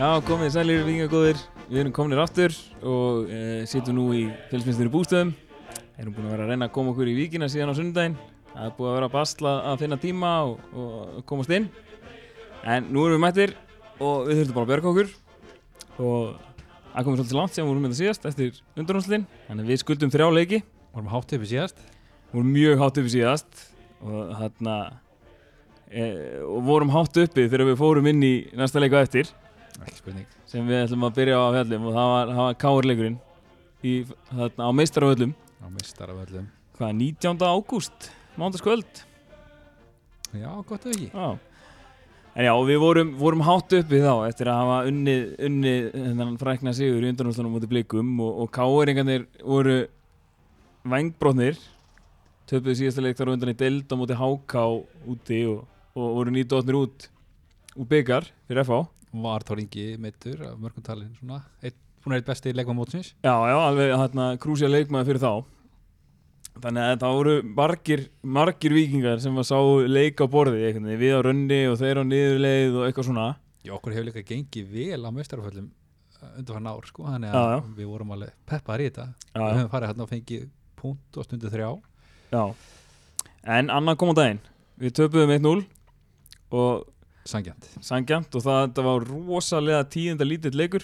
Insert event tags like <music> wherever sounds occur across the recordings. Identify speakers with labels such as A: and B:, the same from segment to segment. A: Já, komið þið sælir, vikingagóðir. Við erum kominir aftur og e, sittum nú í félgsmyndstunni bústöðum. Erum búin að vera að reyna að koma okkur í vikina síðan á sundaginn. Það er búið að vera að basla að finna tíma og, og komast inn. En nú erum við mættir og við þurfum bara að björga okkur. Og það komið svolítið langt sem við vorum með það síðast eftir undanúslinn. Þannig að við skuldum þrjá leiki.
B: Varum hátt yfir síðast
A: Við vorum mjög hátt uppi síðast og þarna e, og vorum hátt uppi þegar við fórum inn í næsta leiku eftir.
B: Ekki spurning
A: sem við ætlum að byrja á að fjallum og það var, það var káurleikurinn í, þarna, á meistaraföllum
B: Á mistar af öllum
A: hvað, 19. ágúst, mándaskvöld
B: Já, gott ef ekki
A: já. en já, við vorum, vorum hátt uppi þá eftir að hafa unnið, unnið þennan frækna sigur í undanúslanum mútið blikum og, og káuringarnir voru vængbrotnir töpuðu síðasta leik þar á undan í deild á mútið háká úti og, og voru nýdóttnir út úr byggar fyrir FH
B: Var Þór Ingi meittur af mörgum talin svona eitt, Hún er eitt besti leikmann mótsins
A: Já, já, alveg hérna krúsja leikmaði fyrir þá Þannig að það voru margir, margir vikingar sem að sá leik á borði einhvern veginn, við á rönni og þeir á niðurleið og eitthvað svona
B: Já, okkur hefur líka gengið vel á mistaraföllum undanfarn ár sko Þannig
A: Já,
B: að
A: já.
B: við vorum alveg peppaðir í þetta
A: Já,
B: Við
A: já.
B: höfum farið hérna og fengið punkt og stundu þrjá
A: Já En annan kom á daginn, við töpuðum 1-0 og
B: Sangjant
A: sangjant og það þetta var rosalega tíðenda lítill leikur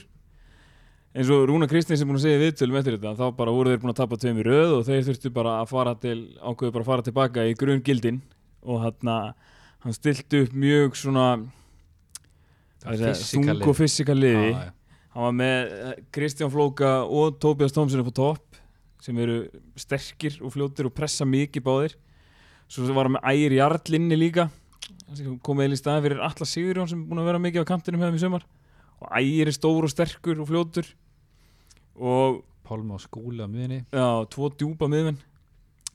A: eins og Rúna Kristins er búin að segja við tölum eftir þetta þá bara voru þeir búin að tapa tveim í röð og þeir þurftu bara að fara til ákveðu bara að fara tilbaka í grunn gildin og hann, hann stilti upp mjög svona
B: Fysikali.
A: þung og fysikal liði
B: Já, já.
A: hann var með eh, Kristján Flóka og Tóbjörn Stómsson upp á topp sem eru sterkir og fljótir og pressa mikið báðir svo var hann með Ægir Jarlinni líka sem kom eða í staðin fyrir Alla Sigurjón sem er búin að vera mikið á kantinum hefðum í sumar og Ægir er stór og sterkur og fljótur og
B: Pálmi og skúli á miðinni
A: já, tvo djúpa miðmenn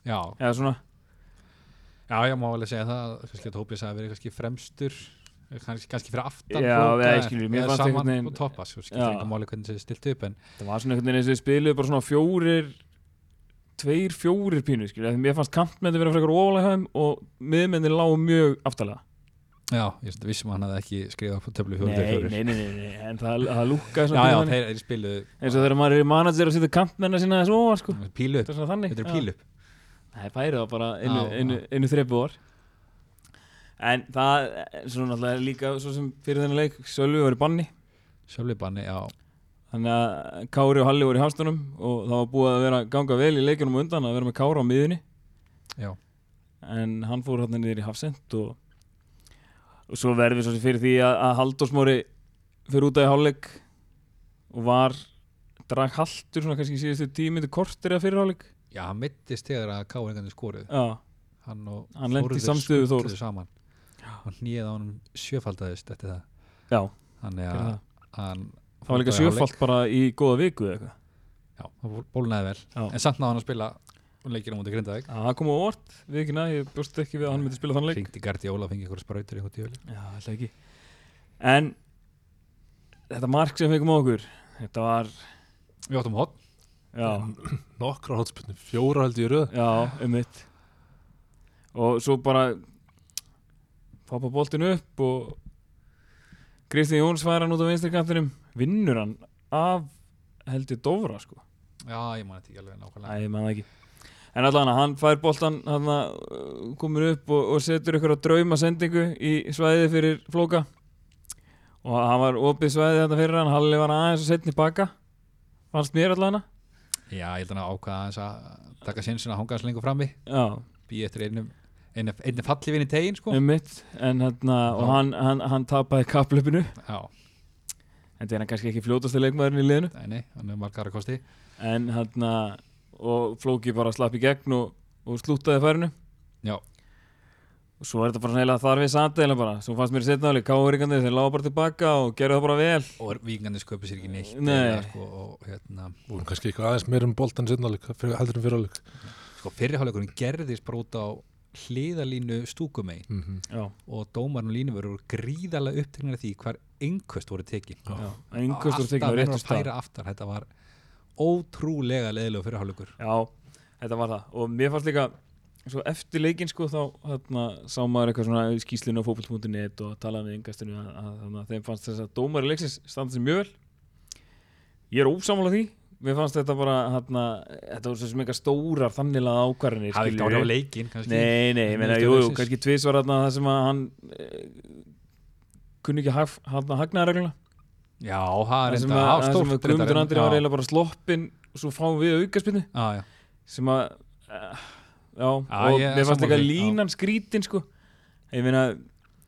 B: Já,
A: eða svona,
B: já, já, má alveg segja það Kannski að Tóbis að vera kannski fremstur kannski, kannski fyrir aftan
A: Já,
B: Flóka,
A: eða, ég skil, mér
B: eða
A: fannst einhvern
B: saman
A: veginn-
B: og toppa svo skilur
A: Já.
B: einhver máli hvernig þessi stilt upp en
A: það var svona einhvern veginn eins og við spiluðu bara svona fjórir tveir fjórir pínu skilja, því mér fannst kantmenni vera frekar ofalega hefðum og miðmenni lágu mjög aftalega
B: Já, ég svona vissum að hann hafði ekki skrifað upp á töflu fjórum til
A: Nei,
B: fjórum.
A: nei, nei, nei, nei, en það, það lúkkaði
B: Já,
A: svona
B: já,
A: fyrir manni.
B: þeir, þeir spiluðu
A: eins og þegar maður er í manager og setur kantmennar sína þessu ofar sko.
B: pílu upp.
A: Þetta er svona þannig
B: Þetta er pílu upp.
A: Það er færið á bara einu,
B: Já,
A: einu,
B: já.
A: einu þrepu orð En það er svo náttúrulega líka svo sem fyrir þennan leik Sölvi var í banni
B: Sjálfleibanni, já.
A: Þannig að Kári og Halli voru í hafstunum og það var búið að vera ganga vel í leikunum á undan að vera með Kára á miðunni
B: Já,
A: en hann fór hann niður í hafsend og, og svo verðum við svo sem fyrir því að, að Halldórsmóri fyrir út af í hálfleik og var drag haldur svona kannski síðustu tíu myndu kortir eða fyrir hálfleik
B: já hann mittist þegar að Káringarnir skoruð.
A: já,
B: Hann og
A: Hann lenti í
B: Þórður
A: samstöðu við Þórð.
B: skulluðu saman. Hann hnýði á hann sjöfaldaðist eftir það.
A: já,
B: Þannig
A: gerði
B: að
A: það
B: hann...
A: það var líka sjöfalt bara í góða viku eða eitthvað
B: Já, hann bólnaði vel.
A: Já.
B: En samt náði hann að spila leikina mútið Grindavík.
A: Já, það kom á orð, vikina, ég bjóst ekki við að hann myndi spila þann leik
B: Ringdi Gardi Óla og fengi einhverja sprautur í einhverju djöfli.
A: Já, alltaf ekki En þetta mark sem við fengum á okkur Þetta var,
B: Við áttum hot.
A: já,
C: <clears throat> nokkra hotspunni, fjóra held ég í röð
A: já, um mitt Og svo bara Pappa boltin upp og Kristján Jóns fær hann út á vinstrikantinum Vinnur hann af held ég Dófra sko
B: Já, ég man þetta ekki alveg nákvæmlega.
A: Æ, ég man það ekki En allan að hann fær boltan hann komur upp og, og setur ykkur að drauma sendingu í svæði fyrir flóka og hann var opið svæði þetta fyrir hann Halli var aðeins og setni baka fannst mér allan að
B: Já, ég held hann að ákvaða hans að taka sinnsinn að hanga hans lengur frammi.
A: Já,
B: býð eftir einum einu, einu fallifinn í tegin sko
A: um mitt en hann, og hann, hann, hann tapaði kaplöpinu
B: já,
A: en það er hann kannski ekki fljótasti leikmaðurinn í liðinu
B: nei, nei, hann er margar að kosti
A: en hann og flóki bara slapp í gegn og, og slúttaði færinu
B: já,
A: og svo er þetta bara svona heila þar við samt eða bara, svo fannst mér setna alveg káuringandi þeir lága bara tilbaka og gerðu það bara vel
B: og vikingandi sköpur sér ekki neitt
A: Nei.
B: eiginlega, sko, og hérna,
C: og kannski eitthvað aðeins meir um boltan sinnalik heldur en fyrir alveg
B: sko fyrirháleikurinn gerðist bara út á hliðalínu stúkumegin
C: mm -hmm.
A: já,
B: og dómarinn og línu voru gríðarlega uppteknir af því hvar einhvöst voru tekin
A: já, einhvers voru tekin á
B: menn
A: réttu
B: voru að
A: stað
B: færa aftar þetta var ótrúlega leðilegu fyrirháleikur
A: já, þetta var það og mér fannst líka svo eftir leikinn sko þá þarna, sá maður eitthvað svona í skýslinu á fókbalt.net og talaði við yngastinu að, að þarna, þeim fannst þess að dómari leiksins standa sér mjög vel ég er ósammála því mér fannst þetta bara þarna, þetta var svo sem eitthvað stórar þanniglega ákvarðinir
B: hafði ekki
A: skilurðu.
B: áhrif á leikinn kannski
A: Nei, nei, ég meina,
B: Niðurstaða
A: jú, jú,
B: leiksins.
A: kannski tvisvar þarna það sem að hann e, kunni ekki haf, hafna hagnaðarregluna
B: já, það er
A: það sem
B: reynda
A: að,
B: á
A: það sem að
B: stórt
A: Guðmundur Andri var
B: já,
A: eiginlega bara sloppinn og svo fáum við aukaspinnu
B: já, já.
A: sem að eh, já,
B: Já,
A: og
B: ég er
A: mér fannst
B: sammála
A: eitthvað
B: því, já.
A: línan skrítin sko ég meina,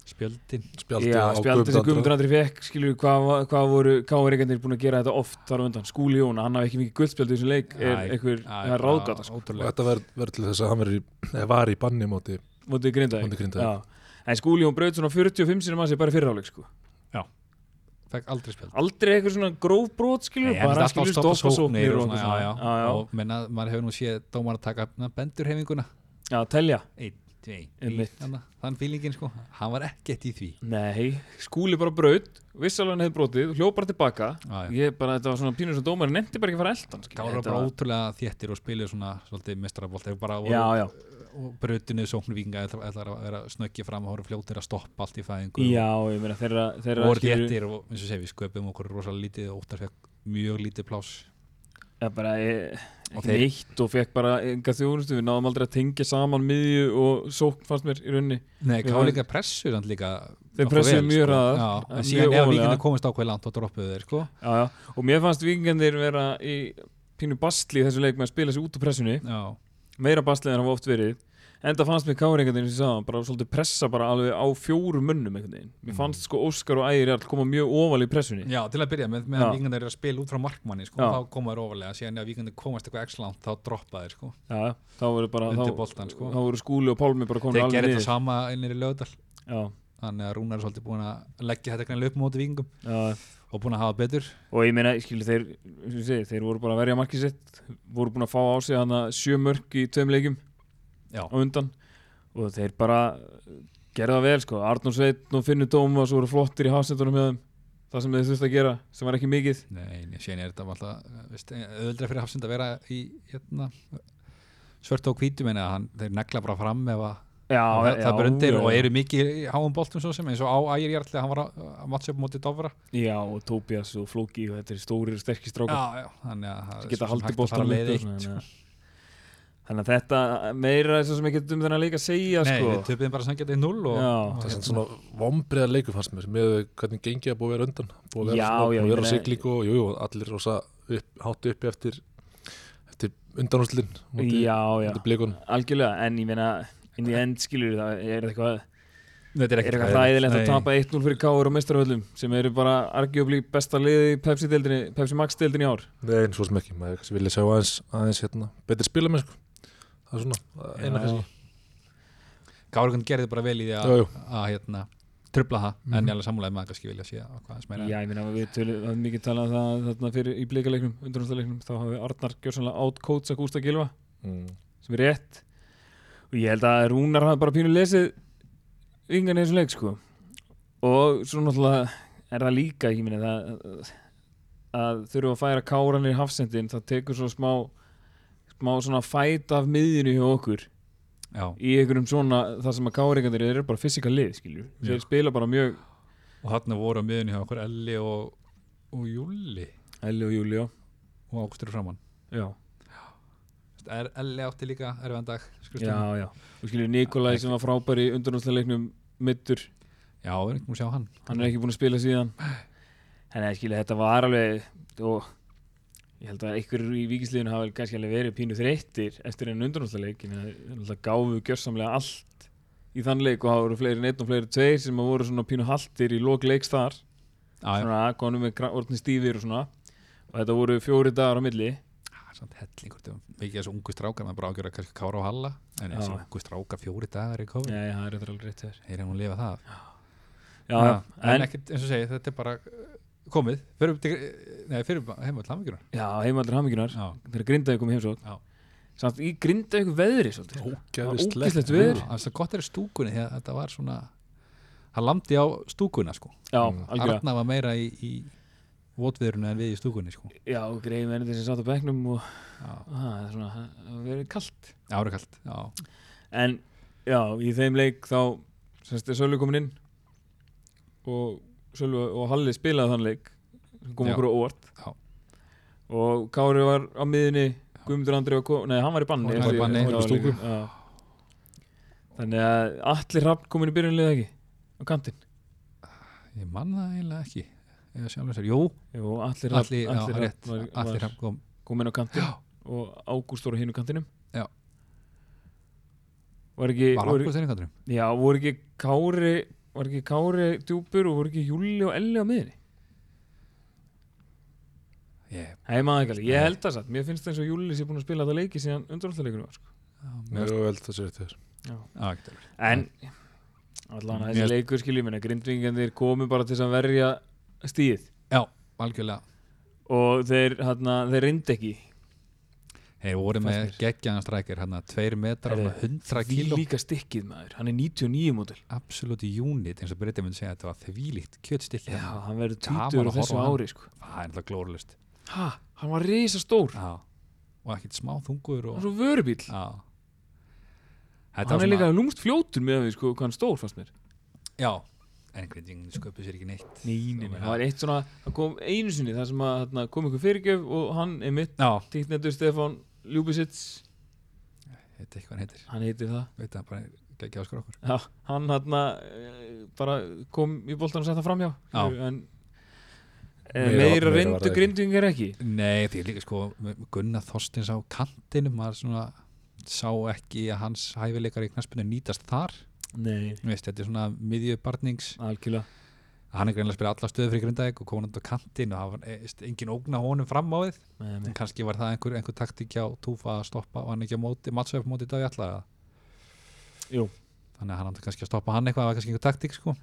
B: spjöldin
C: Spjaldi
A: já,
C: á
A: spjaldi sem
C: Guðmund
A: Guðmundur
C: Andra.
A: Andri fekk skilur við hvað, va- hvað voru káverikandi búin að gera þetta oft þar á undan, Skúli Jón, hann hafði ekki mikið guldspjald í þessum leik, er
B: Já,
A: einhver
B: Já,
A: það er
B: bara
A: ráðgata, sko,
C: Og
B: ótrúlegt.
C: þetta verð- verður til þess að hann verið, eða var í banni móti
A: mótið grindaði
C: móti grindaði.
A: Já, en Skúli Jón braut svona 45 sinum að sér bara í fyrra áleik sko
B: fekk aldrei spjöld
A: aldrei eitthvað svona gróf brot skilur
B: Nei,
A: við,
B: en
A: bara
B: alltaf
A: skilur við,
B: stoppa sóknir
A: og
B: og svona, já, já,
A: já, já,
B: og menna, maður hefur nú séð dómar að taka na, bendurhefinguna
A: já, telja
B: einn, tvei,
A: Einmitt.
B: þannig þann fílingin sko, hann var ekkert í því
A: Nei, skúli bara braut vissalega hann hefði brotið, hljóð bara tilbaka
B: Já, já.
A: ég bara, þetta var svona pínur sem dómar nefndi bara ekki að fara eldan
B: gáður bara ótrúlega þéttir og spilir svona svolítið mestrarabólt hefur bara
A: já, já,
B: og brutinu sóknurvíkinga ætlar ætlar að vera snöggið fram og voru fljótir að stoppa allt í fæðingu
A: já, ég meina þeirra,
B: og
A: þeirra
B: voru þéttir og eins og segja við sköpum okkur rosalega lítið og óttar fekk mjög lítið pláss
A: ja, bara, ég,
B: Og
A: ekki neitt og fekk bara enga þjónustu, við náðum aldrei að tengja saman miðju og sókn fannst mér í rauninni
B: Nei,
A: Já.
B: kálinga pressu samt líka
A: Þeir
B: nokkuð
A: pressuðu
B: vel,
A: mjög
B: sko.
A: hraðar,
B: Já,
A: mjög
B: En síðan ef
A: óvarlega.
B: vikinu komist ákveð langt og droppuðu þeir sko
A: já, já. og mér fannst vikingandir vera í pínu bastli í þessu leik með að spila sig út úr pressunni
B: Já,
A: meira baslið en hann var oft verið enda fannst mér káringandinn sem ég sagði bara svolítið pressa bara alveg á fjórum munnum einhvern veginn, mér fannst sko Óskar og Ægir Jarl koma mjög óval í pressunni
B: Mm. Já til að byrja með, meðan
A: Já.
B: vikingarnir eru að spila út frá markmanni sko,
A: Já.
B: þá koma þeir ofalega, síðan ef vikingarnir komast eitthvað x langt þá droppa þeir sko
A: já, þá voru bara þá,
B: Undir boltann, sko.
A: þá voru Skúli og Pálmi bara komin
B: Þeir
A: alveg
B: gerir þetta
A: niður
B: sama innir í lögdal
A: já,
B: þannig að Rúnar er svolítið búin að leggja þetta greinlega upp móti vikingum
A: já.
B: og búin að hafa betur
A: og ég meina, skilu þeir sem ég segi, þeir voru bara að verja markið sitt voru búin að fá á sig hana sjö mörk í tveim leikum
B: Já,
A: á undan og þeir bara gerða vel sko, Arnór Sveitn og Finnur Dómas voru flottir í hafsendunum hjá þeim það sem þeir þurfti að gera, sem var ekki mikið
B: Nei, nei, síðan er þetta alltaf veist, öðuldra fyrir Hafsind að vera í hérna, svörtu og hvítum en að hann, þeir negla bara fram ef að
A: já,
B: það,
A: já,
B: það brundir
A: já,
B: og
A: já.
B: eru mikið í háum boltum svo sem eins og á ægir hjartlega hann var að- að matcha upp mótið Dofra
A: Já, og Tobias og Flóki og þetta er stórir og sterkir strákar
B: já, já, þannig að það
A: sem
B: er
A: geta haldið
B: svo sem hægt að fara
A: bóttanum uppi
B: leið
A: og
B: eitt,
A: svona,
B: sko.
A: þannig að- Þannig að þetta meira er svo sem ég getum þennan leik að segja
B: Nei,
A: sko.
B: við töpuðum bara sangjað í null og,
A: Já.
B: og
C: Það er sem
B: hérna,
C: svona vombriða leiku fannst mér með hvernig gengið að búið að vera undan búið að vera,
A: Já, já,
C: svona, búið að vera
A: ég
C: á
A: meina-
C: siglingu og jú, jú, allir rosa upp, hátu uppi eftir, eftir undanúslinn
A: Já, já,
C: blikunum
A: algjörlega En ég meina, inn í end skilur það er eitthvað,
B: þetta er
A: er
B: ekkert
A: eitthvað þæðilegt að
B: Nei.
A: tapa 1-0 fyrir Káur og mestarvöllum sem eru bara argjöfli besta liði í Pepsi-deildinni, Pepsi Max-deildinni í ár
C: Nei, svo sem ekki, maður kannski vilja sjá aðeins, aðeins hérna, betri spila með sko það er svona, það eina
A: Já.
C: kannski
B: Gárgun gerði bara vel í því
C: Jú,
B: að
C: jú.
B: að, hérna, trubla það en ég alveg samlega maður kannski vilja sé að hvað hans meira
A: Mhm. Já, ég meina, við tölum, það er mikið talað um það þarna fyrir í blíkaleiknum, undanústaleiknum þá hafi Arnar gjörsanlega átkótsa Gústa Gilva
C: Mm.
A: sem er rétt og ég held að Rúnar hafi bara pínu lesið yngan í þessum leik sko og svo náttúrulega er það líka ég minni það að þurfa að færa káranir í hafsendin það tekur svo smá smá svona fæt af miðinu hjá okkur
B: Já.
A: í einhverjum svona það sem að káringandir eru bara fysikal lið skilju
B: Já.
A: þeir spila bara mjög
B: og þarna voru á miðunni hjá okkur Elli og, og Júli
A: Elli og Júli já
B: og Ágústur er framann
A: já,
B: er Elli átti líka erfiðan dag
A: já,
B: skrifstofunni.
A: já. og skilju Nikolai sem var frábær í undanústaleiknum mittur
B: já, við erum ekki múið að sjá hann
A: hann er ekki búinn að spila síðan þannig að skilja þetta var alveg og ég held að einhverjur í vikisliðinu hafa vel kannski alveg verið pínu þreyttir eftir enn undanúrstaleik en það gáfu gjörsamlega allt í þann leik og það voru fleiri en einn og fleiri en tveir sem að voru svona pínu haltir í lok leiks þar
B: já,
A: svona konum með orðni stífir og svona og þetta voru fjóri dagar á milli
B: já, Ah, samt hellingur þetta var mikið þessu ungu strákar maður bara ágjör að kannski kára á Halla en
A: Já.
B: þessu ungu strákar fjóri dagar í COVID
A: nei, það er þetta alveg rétt þér
B: þeir eru nú að lifa það
A: já,
B: Já,
A: já,
B: en,
A: en,
B: ekkert, eins og segi, þetta er bara uh, komið fyrir, til, uh, nei, fyrir heim á hlamvíkjurnar
A: já heimaldar hamingjunar
B: já,
A: þegar grindaði komið heimsók
B: Já.
A: samt í grindaði veðri svolítið
C: ógeðislegt
A: ógeðslegt
B: það
A: veður.
B: er svo gott er í stúkunni því að þetta var svona það landi á stúkunna sko
A: já,
C: Mm.
A: algjörlega
B: Arna var meira í, í votviðurinu en við í stúkunni sko
A: já, greiði mennir sem satt á bekknum og
B: já,
A: Ah, það er svona, það hefur verið kallt
B: árakalt, já,
A: en já, í þeim leik þá semst er Sölvi komin inn og Sölvi og Halli spilaði þann leik sem kom
B: Já.
A: okkur á óvart
B: Já.
A: og Kári var á miðinni Guðmundur Andri var kom, nei hann var í banni
B: Hann var í
A: eftir-
B: banni,
A: eftir
C: hann var í
A: leikinn, já. þannig að allir rafn komin í byrjunlið ekki á kantinn
B: ég man það eiginlega ekki eða sjálfum sér, jú,
A: Jú, allir Rafn-
B: allir, já,
A: Rafn
B: rétt
A: var,
B: allir
A: var
B: hafn kom,
A: komin á kantinn
B: já,
A: og Ágúst voru á hinu kantinum
B: Já.
A: var ekki,
B: var
A: voru,
B: ákvæmst einhvern veginn
A: já, voru ekki Kári var ekki Kári djúpur og voru ekki Júli og Elli á miðinni
B: ég,
A: Nei, maður ekki alveg, ég
B: Nei.
A: held það satt mér finnst eins og Júli sé búin að spila þetta leiki síðan undanáttarleikunum var sko.
B: já, mér,
C: Mjög vel það sér þér
B: á, ekkert alveg.
A: en allan að
B: Mér-
A: þessi leikur skiljum minna grindvingandir komu bara til þess að verja stíð
B: já, algjörlega
A: og þeir, hana, þeir reyndi ekki
B: þeir voru með
A: Fastnir.
B: geggjaðan strækir hérna, tveir metrar,
A: Herri,
B: svona 100
A: því
B: kíló
A: líka stikkið maður, hann er 99 mótil
B: absolutt unit, eins og Bryti myndi segja þetta var þvílíkt kjötstikki
A: já,
B: hérna.
A: hann verður
B: Gaman
A: tvítur á
B: að
A: þessu
B: horfa á hann.
A: ári sko.
B: það er ennþá glórulust
A: ha, hann var risastór
B: og ekkert smá þungur
A: og
B: og,
A: svo vörubíl
B: Sko. já
A: hann
B: þetta var
A: er
B: svona,
A: líka lúmst fljótur með að við sko hvað hann stór fannst mér
B: já en grindingin sköpur sér ekki neitt nei, nei.
A: það var eitt svona, það kom einu sinni þar sem að þarna, kom ykkur fyrirgjöf og hann er mitt
B: já,
A: tíknendur Stefan Ljúbisits
B: þetta er eitthvað hann heitir
A: hann heitir það
B: veit það bara geggja á skrókur
A: Já, hann hérna bara kom í boltan og sett það framhjá
B: Já.
A: en eh,
C: Meira-
A: meira, meira
C: meira var það
A: reyndu
C: ekki.
A: grindvingar ekki
B: nei því líka sko með- með Gunnar Þorstins á kantinu maður svona sá ekki að hans hæfileikar í knaspinu nýtast þar
A: nei,
B: Þú veist, þetta er svona miðjubarnings
A: algjörlega
B: hann er greinlega að spila alla stöðu fyrir grindæk og komandi á kantin og það var eh, veist, engin ógna honum fram á við
A: nei,
B: en
A: nei.
B: kannski var það einhver, einhver taktík hjá Túfa að stoppa og hann ekki á móti, mattsveif móti í dag allega
A: Jú.
B: þannig að hann átti kannski að stoppa hann eitthvað það var kannski einhver taktík sko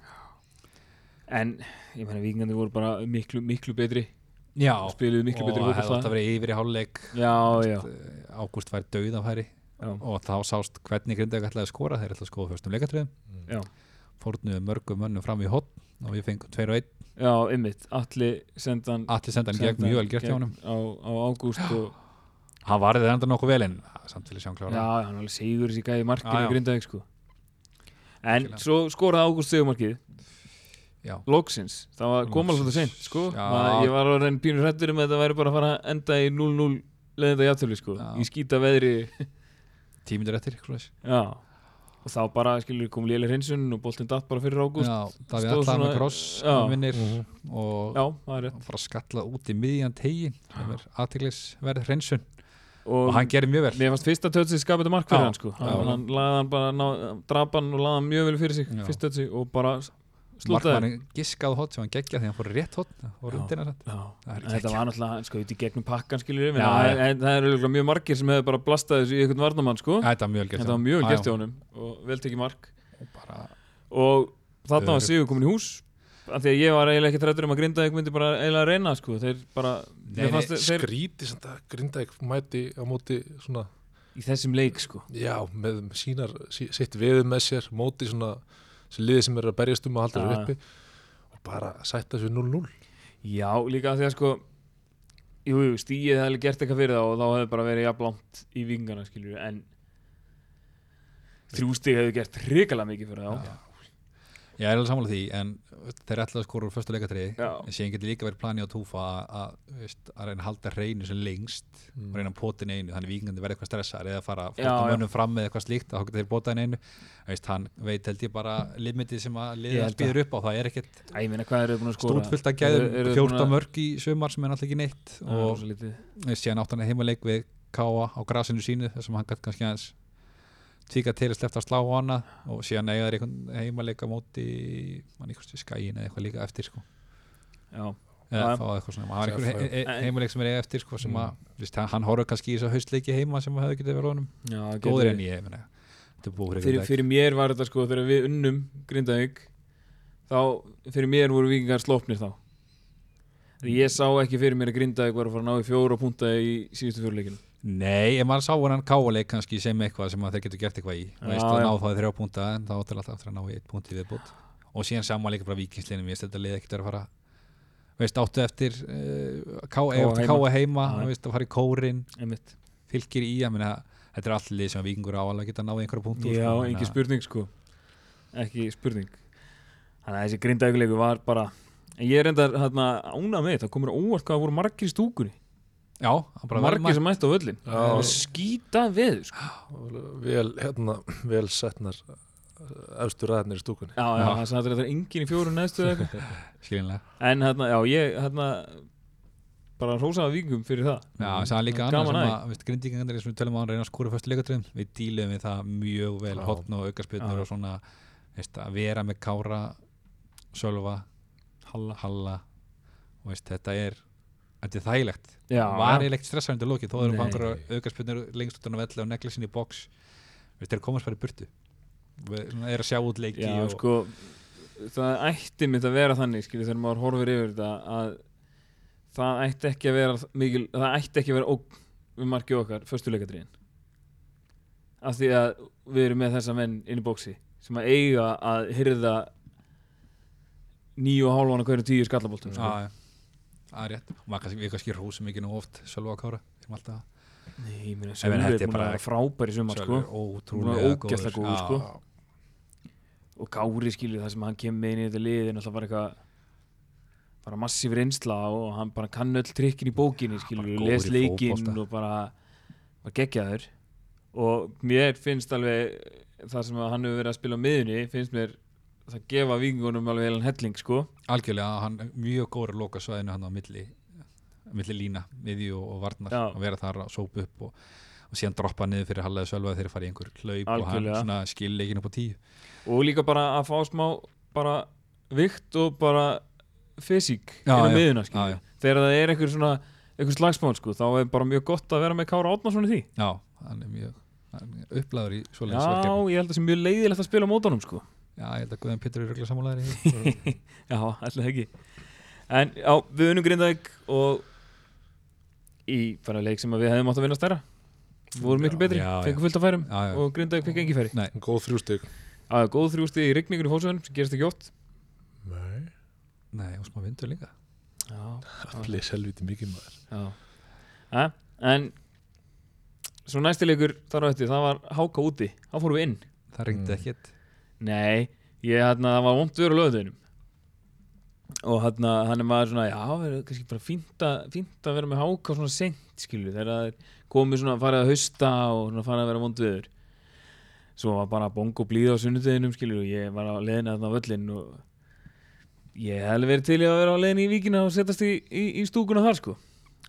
A: en ég meina vikingandi voru bara miklu, miklu betri
B: já,
A: spiluðu miklu betri
B: og hefði átt að
A: fótbolta
B: vera yfir í hálfleik
A: já, já,
B: ágúst væri dauð af hæri
A: já,
B: og þá sást hvernig grindæk ætlaði að skora þeir ætlaði að skora fyrstum
A: Já.
B: leikatriðum fórnuðu mörgum mönnum fram í hotn og við fengum 2 og 1
A: já, ymmit allir sendan
B: allir sendan
A: sendan
B: gegn mjög vel gert hjá honum
A: á, á ágúst og
B: hann varði þetta nokkuð vel en ah, samt vil ég sjá hann
A: já,
B: klára
A: hann alveg sigur þessi gæði markinu
B: Já, já.
A: í grindaðið sko en
B: Algjörlega.
A: svo skoraði ágúst sigumarkið
B: Já.
A: loksins, það var koma
B: Loksins.
A: alltaf seint sko,
B: Já.
A: Maður, ég var orðin pínur hrættur um að þetta væri bara að fara að enda í 0-0 leðinda játtölu sko,
B: Já.
A: í skýta veðri
B: tímindur eftir eitthvað svoleiðis.
A: já, og þá bara skilur kom léli hreinsun og boltinn datt bara fyrir ágúst já.
B: já, Davíð
A: stóð
B: allar með
A: svona-
B: kross
A: já.
B: vinnir
C: Mhm.
B: og
A: það er rétt
B: hann fara að skalla út í miðjan tegin það er aðtiklisverð hreinsun
A: og,
B: og hann gerir mjög vel
A: mér fannst fyrsta tötsi skapið mark fyrir
B: Já.
A: hann sko,
B: Já.
A: hann, hann laði hann bara ná, drapa hann og laði hann mjög vel fyrir sig
B: Já.
A: fyrsta tötsi og bara slútaði
B: markmannin giskaði hot sem hann geggja því hann fór rétt hot og
A: Já.
B: rundina satt
A: Já,
B: Það er
A: þetta
B: geggjað.
A: var náttúrulega sko, út í gegnum pakkan skiljur
B: Já,
A: það,
B: já.
A: en það er örugglega mjög margir sem hefur bara blastað þessu í einhvern varnamann sko.
B: Ja, þetta var mjög vel gert
A: þetta var mjög vel
B: Já,
A: gert
B: já.
A: í honum og vel tekið mark
B: Og bara-
A: og þarna var
B: Öruggt.
A: Sigur komin í hús af því að ég var eiginlega ekki trættur um að grinda ég myndi bara eiginlega að reyna sko. þeir bara,
B: Nei,
A: nei,
B: nei,
A: fannst, þeir,
C: Skríti samt að Grindæk mæti á móti svona
A: í þessum leik sko.
C: Já, með sínar, sí- sitt veður með sér móti svona sem liðið sem er að berjast um að halda
A: Já,
C: þér
A: já.
C: uppi og bara sætta þessu 0-0
A: já, líka af því að sko, jú, jú, stíið hefði alveg gert eitthvað fyrir það og þá hefði bara verið jafnblant í vingana skiljur en þrjú stig hefði gert hrikalega mikið fyrir þá
B: Já. ég er alveg sammála því en veist, þeir ætlaði að skora úr fyrsta leikatriði
A: Já.
B: en síðan getur líka verið plani á túfa að, að, veist, að reyna að halda reynu sem lengst og reyna að póta inn einu þannig vikingandi verði eitthvað stressar eða fara
A: Mm. Já,
B: fóttamönnum fram með eitthvað slíkt þá geta þeir bóta inn einu veist, hann veit held ég bara limitið sem að
A: Ég
B: liða
A: held
B: býður upp á það er ekkert
A: Æ, ég meina hvað eru búin að skora
B: stútfullt að
A: Eru- eru þeir
B: gæðum 14
A: búin að-
B: mörg í sumar sem er náttúrulega ekki neitt
A: Það er
B: og
A: rosa lítið.
B: veist, síðan átt hann heimaleik við Káa á grasinu sínu þar sem hann gætt kannski aðeins tíka til að sleppta að slá á hana og síðan eiga þeir einhvern heimaleik á móti mann ykkur skæin eða eitthvað líka eftir sko.
A: Já,
B: eða
A: Já.
B: fá eitthvað svona, hann var
C: Sjá,
B: einhver he he
A: En- Mm.
B: heimaleik sem er eiga eftir sko, sem að, viðst, hann horfður kannski í þess að haustleiki heima sem hefði getið verið honum
A: já gæti
B: góður
A: verið.
B: en ég, ég meina, þetta er búið
A: fyrir, fyrir mér var þetta sko þegar við unnum Grindavík þá fyrir mér voru vikingar slopnir þá Því ég sá ekki fyrir mér að Grindavík var að fara að ná í fjóra punta í síðustu fjóruleikinu
B: Nei, ef maður sá hann káleik kannski sem eitthvað sem að þeir getur gert eitthvað í og veist
A: Já,
B: að
A: já.
B: ná þá í þrjá púnta en þá áttur alltaf aftur að ná í eitt púnt í viðbútt og síðan saman líka bara vikingslinum ég veist þetta liði ekkert að fara veist áttu eftir uh, ká,
A: K.A.
B: ká, ká heima
A: Já, já.
B: og veist að fara í kórin
A: einmitt
B: fylgir í að minna þetta er allir sem vikingur áalega geta náði einhverja punktu
A: Já, engin spurning sko Ekki spurning Þannig að þessi grindaugleiku var bara En ég er reyndar hérna ánað með þetta komur óvart hvað það voru margir í stúkunni
B: Já, hann bara vel
A: Margir
B: mætt.
A: sem mættu á völlin
C: Já.
A: Það var Skýta við sko.
C: vel, hérna, vel setnar eh, efstu ræðinir í stúkunni
A: Já, já,
B: Já.
A: það sagði þetta er engin í fjórun neðstu eða eitthvað.
B: skiljanlega
A: En hérna, já, ég hérna bara hrósaði vingum fyrir það
B: Já, það sagði líka annað
A: Gaman
B: sem
A: að
B: að, veist, grindíkangandir sem við tölum á hann reyna að skúra fyrstu leikatröðum við díluðum við það mjög vel
C: Já.
B: hotn og aukarspilnur
A: Já.
B: og svona veist, að vera með Kára Sölva, Halla, og veist, þetta er þetta er þægilegt,
A: Já,
B: var eiginlega ekkert stressaður undir lokið, þó erum
A: Nei.
B: við einhverja aukarspilnur lengst út á velli og negla sinni í box veist, þeir komast bara í burtu Við- svona, er að sjá út leiki
A: Já,
B: og,
A: sko það ætti mitt að vera þannig skilur þegar maður horfir yfir þetta að það ætti ekki að vera mikil, það ætti ekki að vera ógn við markið okkar, föstuleikadríðin af því að við erum með þessa menn inn í bóksi sem að eiga að hyrða níu og hálfan að hverju tíu skallaboltum sko.
B: Já, já. það er rétt og maður kannski, við kannski rósum ekki nú oft Sölva og Kára, við erum alltaf
A: Nei, ég meina,
B: Ég meina,
A: Sölvi er
B: þetta er
A: búin að
B: bara-
A: vera frábær í sumar sko.
B: Sölvi er
A: Hún
B: ótrúlega
A: er ógeðslega góður,
B: Já,
A: sko.
B: já.
A: og Kári skilur það sem hann kemur með inn í þetta lið er náttúrulega bara eitthvað bara massíf reynsla og hann bara kann öll trikkin í bókinni skilur,
B: Ah, bara
A: ja,
B: góður
A: les
B: í
A: leikinn
B: fótbolta.
A: og bara var geggjaður og mér finnst alveg það sem að hann hefur verið að spila á miðunni finnst mér það gefa vingunum alveg heilan helling sko
B: algjörlega, hann er mjög góður að loka svæðinu hann á milli, milli lína, miðju og, og varnar
A: Já.
B: að vera þar að sópa upp og, og síðan droppa niður fyrir hallega sölva þegar farið einhver hlaup og hann
A: Algjörlega.
B: svona skil leikin upp á tíu
A: og líka bara að fá smá bara vikt og bara fysík inn
B: Já,
A: á
B: já.
A: miðuna
B: Já, já.
A: skilur þegar það er einhver svona einhver slagsmál sko þá er bara mjög gott að vera með Kára Átnarsson í því
B: já, hann er mjög hann er upplæður í
A: Já,
B: svoleiðis verkefni
A: ég held að það sé mjög leiðilegt að spila á mótunum sko.
B: já, ég held að Guðan Pétur er
A: <laughs>
B: röglega sammálaðir
A: Já, alltaf ekki. En já, við unum Grindavík og í bara leik sem að við hefðum átt að vinna stærra. Við vorum miklu betri,
B: já, já.
A: fengum fullt af færum
B: Já, já.
A: og Grindavík fengið engi færi.
B: Nei.
C: góð þrjústig
A: Já, já, góð þrjústi í rigningur í fósöðunum sem gerist ekki ótt.
C: nei,
B: nei, og smá vindur líka
A: Já,
C: allir selviti mikið maður
A: já. Ja, en svo næsti leikur þar á eftir, það var háka úti. Þá fórum við inn.
B: það ringdi
C: Mm.
B: ekkert
A: Nei, ég hérna, það var vondt verið á löðunum og hérna, hann er maður svona, já, það er kannski bara fínt að, fínt að vera með háka svona sent, skilju, þegar það er komið svona að fara að hausta og svona farið að vera vond viður. Svo var bara bongo blíð á sunnudeginum, skilju, og ég var á leiðinu þarna á völlinn og ég hef alveg verið til í að vera á leiðinu í víkina og setjast í, í, í stúkuna þar, sko.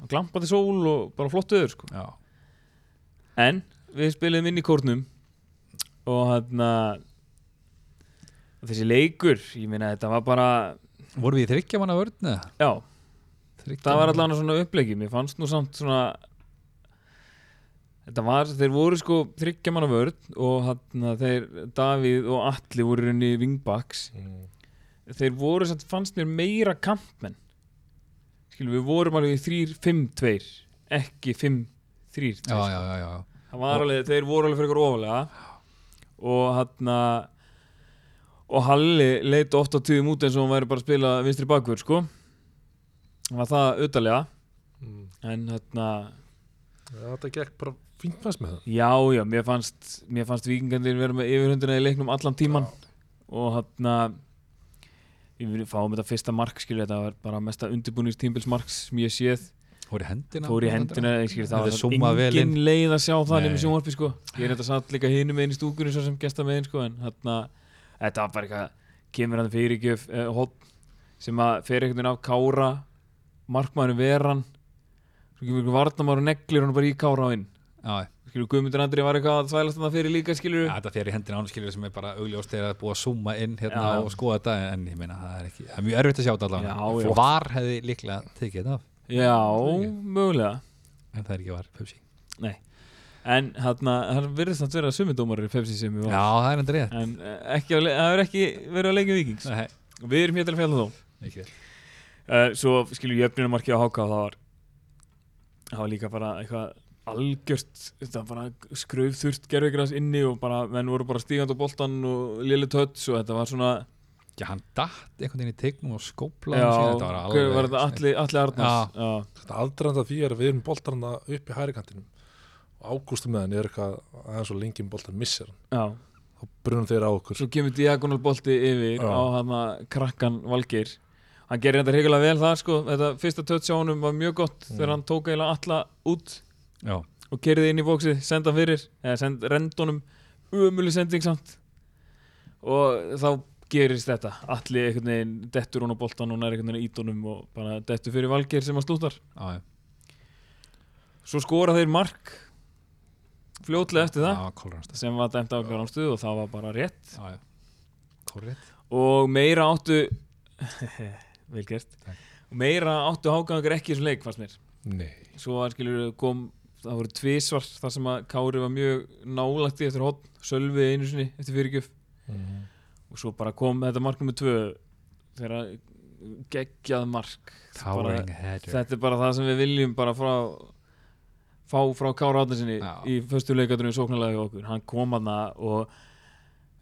A: Og glampandi sól og bara flott viður, sko.
B: já,
A: En við spilum inn í kórnum og hérna þessi leikur, ég meina þetta var bara
B: voru við í þryggja manna vörn eða?
A: já,
B: Þriggja
A: það var
B: manna-
A: allavega svona uppleiki mér fannst nú samt svona þetta var, þeir voru sko þryggja manna vörð og hérna þeir, Davíð og Atli voru runni vingbaks,
C: mm.
A: þeir voru samt fannst mér meira kampmenn skilum við vorum alveg þrýr, fimm, tveir ekki fimm, þrýr,
B: já,
A: tveir
B: já, já, já,
A: það var alveg, þeir voru alveg fyrir ykkur ofalega og hann og Halli leit oft á tíðum út eins og hann væri bara að spila vinstri bakvörð sko hann var það auðalega
C: Mm.
A: en hérna,
C: Já, þetta gekk bara fínt fannst með það
A: já já, mér fannst mér fannst vikingandir vera með yfirhundina í leiknum allan tíman og hann við viljum fáum þetta fyrsta mark skilja þetta var bara mesta undirbúningstímbilsmark sem ég séð,
B: fór í hendina
A: fór í hendina skilja, það
B: Þetta
A: var
B: súmmaði vel
A: engin
B: inn.
A: leið að sjá það nefnum
B: Nei.
A: sjónvarpi sko ég er þetta satt líka hinum einn í stúkunni svo sem gesta með einn sko en þarna þetta var bara eitthvað kemur hann fyrirgjöf uh, hot sem að fer einhvern veginn af Kára markmaðurinn veran svo kemur einhvern varnamár og neglir hann bara í Kára á inn
B: já, já
A: skilur Guðmundur Andri var eitthvað að þvælast hann fyrir líka skilur
B: Já, þetta fyrir hendina án skilur sem er bara augljóst þegar það er búið að zooma inn hérna
A: Já, já.
B: og skoða þetta en- en ég meina það er ekki, það er mjög erfitt að sjá þetta allavega
A: Já, já.
B: og var hefði líklega tekið þetta af
A: já, mögulega
B: en það er ekki var, Pepsi Já,
A: nei en þarna, hann virðist að vera sumindómar í Pepsi sem við varum
B: það er endur rétt
A: en eh, ekki, á le- það er ekki verið að leikja vikings
B: Nei,
A: og við erum hér til að fjalla þó
B: ekki rétt.
A: uh, svo skilur jöfnumarki á háka það var það var líka bara eitthvað algjört þetta var bara skröfþurft gerðvigras inni og bara, menn voru bara stígand á boltan og lili tötts og þetta var svona
B: Já, hann datt einhvern veginn í tegnum og skóplaði
A: já,
B: síðan, þetta var
A: hver
B: alveg
A: var þetta allir alli Arnars já.
C: Þetta aðdraðan það því er að við erum boltarna upp í hærikantinum ágústum með hann er eitthvað aðeins og lengjum boltan missir hann
A: já,
C: þá brunum þeir á okkur
A: svo kemur diagonal bolti yfir
C: Já.
A: á hann krakkan Valgeir hann gerir þetta hreikulega vel það sko þetta fyrsta touch á honum var mjög gott
C: Mm.
A: þegar hann tók eiginlega alla út
B: já,
A: og kerði inn í bóksið, senda hann fyrir eða send rendunum umölu sending samt og þá gerist þetta allir einhvern veginn dettur hún á boltan og nær einhvern veginn ítunum og bara dettur fyrir Valgeir sem að slútar
B: já,
A: svo skora þeir mark fljótlega eftir það
B: já, kólransta
A: sem var dæmt af garanstuð og það var bara rétt
B: já, já, korrekt
A: og meira áttu <laughs> vel gert
B: Takk.
A: og meira áttu hágangur ekki í þessum leik fannst mér
C: Nei,
A: svo var skilur kom það voru tvísvar þar sem að Kári var mjög nálagt í eftir hotn Sölvi einu sinni eftir fyrirgjöf
C: Mhm.
A: og svo bara kom þetta mark nummer tvö þegar að geggjað mark
B: towering header
A: þetta er bara það sem við viljum bara frá fá frá Kára Átnarsinni
B: Já.
A: í föstu leikadrunum sóknarlega hjá okkur hann kom hann og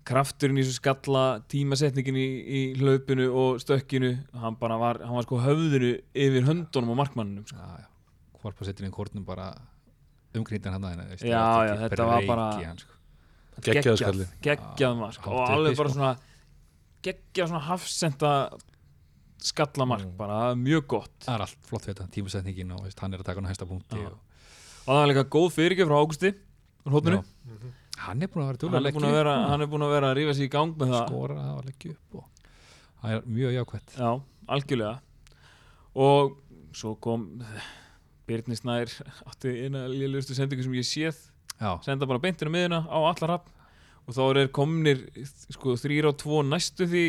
A: krafturinn í þessu skalla tímasetningin í, í hlaupinu og stökkinu hann bara var, hann var sko höfðinu yfir höndunum og markmannunum sko.
B: já, já, hvarpa setur inn kórnum bara umgrýtan hann aðeina
A: Já, já, þetta var bara-
B: hann, sko.
C: Geggjaður skalli.
A: geggjað mark
B: Hátt
A: og
B: uppi,
A: alveg bara
B: sko.
A: svona geggjað svona hafsenda skallamark,
C: Mm.
A: bara mjög gott
B: það er allt flott við þetta, tímasetningin og veist, hann er að taka hann á hæsta punkti
A: Já.
B: og,
A: og það var líka góð fyrirgjöf frá Águsti úr hóttunni,
B: Já. Mhm. hann er búin að vera
A: hann er
B: duglega að
A: búin
B: leggja
A: að
B: upp
A: vera hann er búin að vera að rífa sér í gang með það
B: skora það og leggja upp og það er mjög jákvætt
A: Já, algjörlega og svo kom Birnir Snær átti eina lélugustu sendingu sem ég séð
B: já,
A: senda bara beintina miðuna á allar hafn og þá er komnir sko þrýr á tvo næstu því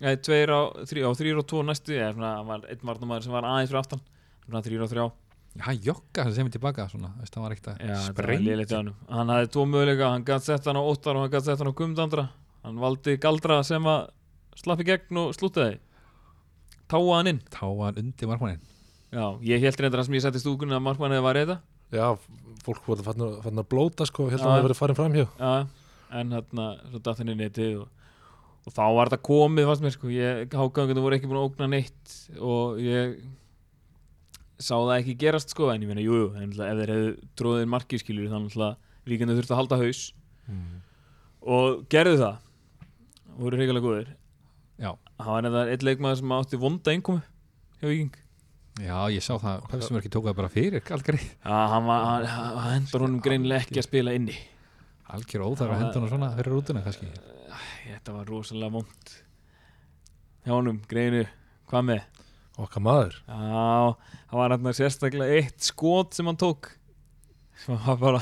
A: eða tveir á, þrý, á þrýr á tvo næstu eða svona hann var einn varnamæður sem var aðeins fyrir aftan svona þrýr á þrjá
B: hann jogga hann sem er tilbaka svona, veist, hann var ekkert
A: Já,
B: að
A: þetta var lélegt hjá honum. hann hafði tvo möguleika, hann gætt sett hann á óttar og hann gætt sett hann á kumdandra hann valdi galdra sem að slapp í gegn og slútaði táa hann inn
B: táa hann undir markmannin
A: Já, ég held reyndar það sem ég setti í stúkunni að markmann hefði varðið þetta
C: Já, fólk voru fann, fann að blóta sko, heldur
A: Já.
C: að það verið farin fram hjá
A: Já, en hérna, svo datt henni netið og, og þá var þetta komið fannst mér sko, ég, hágangandi voru ekki búin að ógna neitt og ég sá það ekki gerast sko en ég meina, jújú, jú, en náttúrulega ef þeir hefðu tróðið markið skilur þannig að líkandi þurfti að halda haus
C: Mhm.
A: og gerðu það voru reykjulega góðir
B: Já.
A: Það var þetta eitt leikmaður sem átti vonda einkomi hjá Viking
B: já, ég sá það, Pepsimörki tók það bara fyrir algjör,
A: Já, hann var, hann, hann hann hendur honum greinilega ekki að spila inni
B: algjör óþar að henda hann svona fyrir rútuna kannski
A: Þetta var rosalega vond hjá honum, greinu, hvað með?
C: Okkar maður
A: Já, það var hérna sérstaklega eitt skot sem hann tók sem var bara,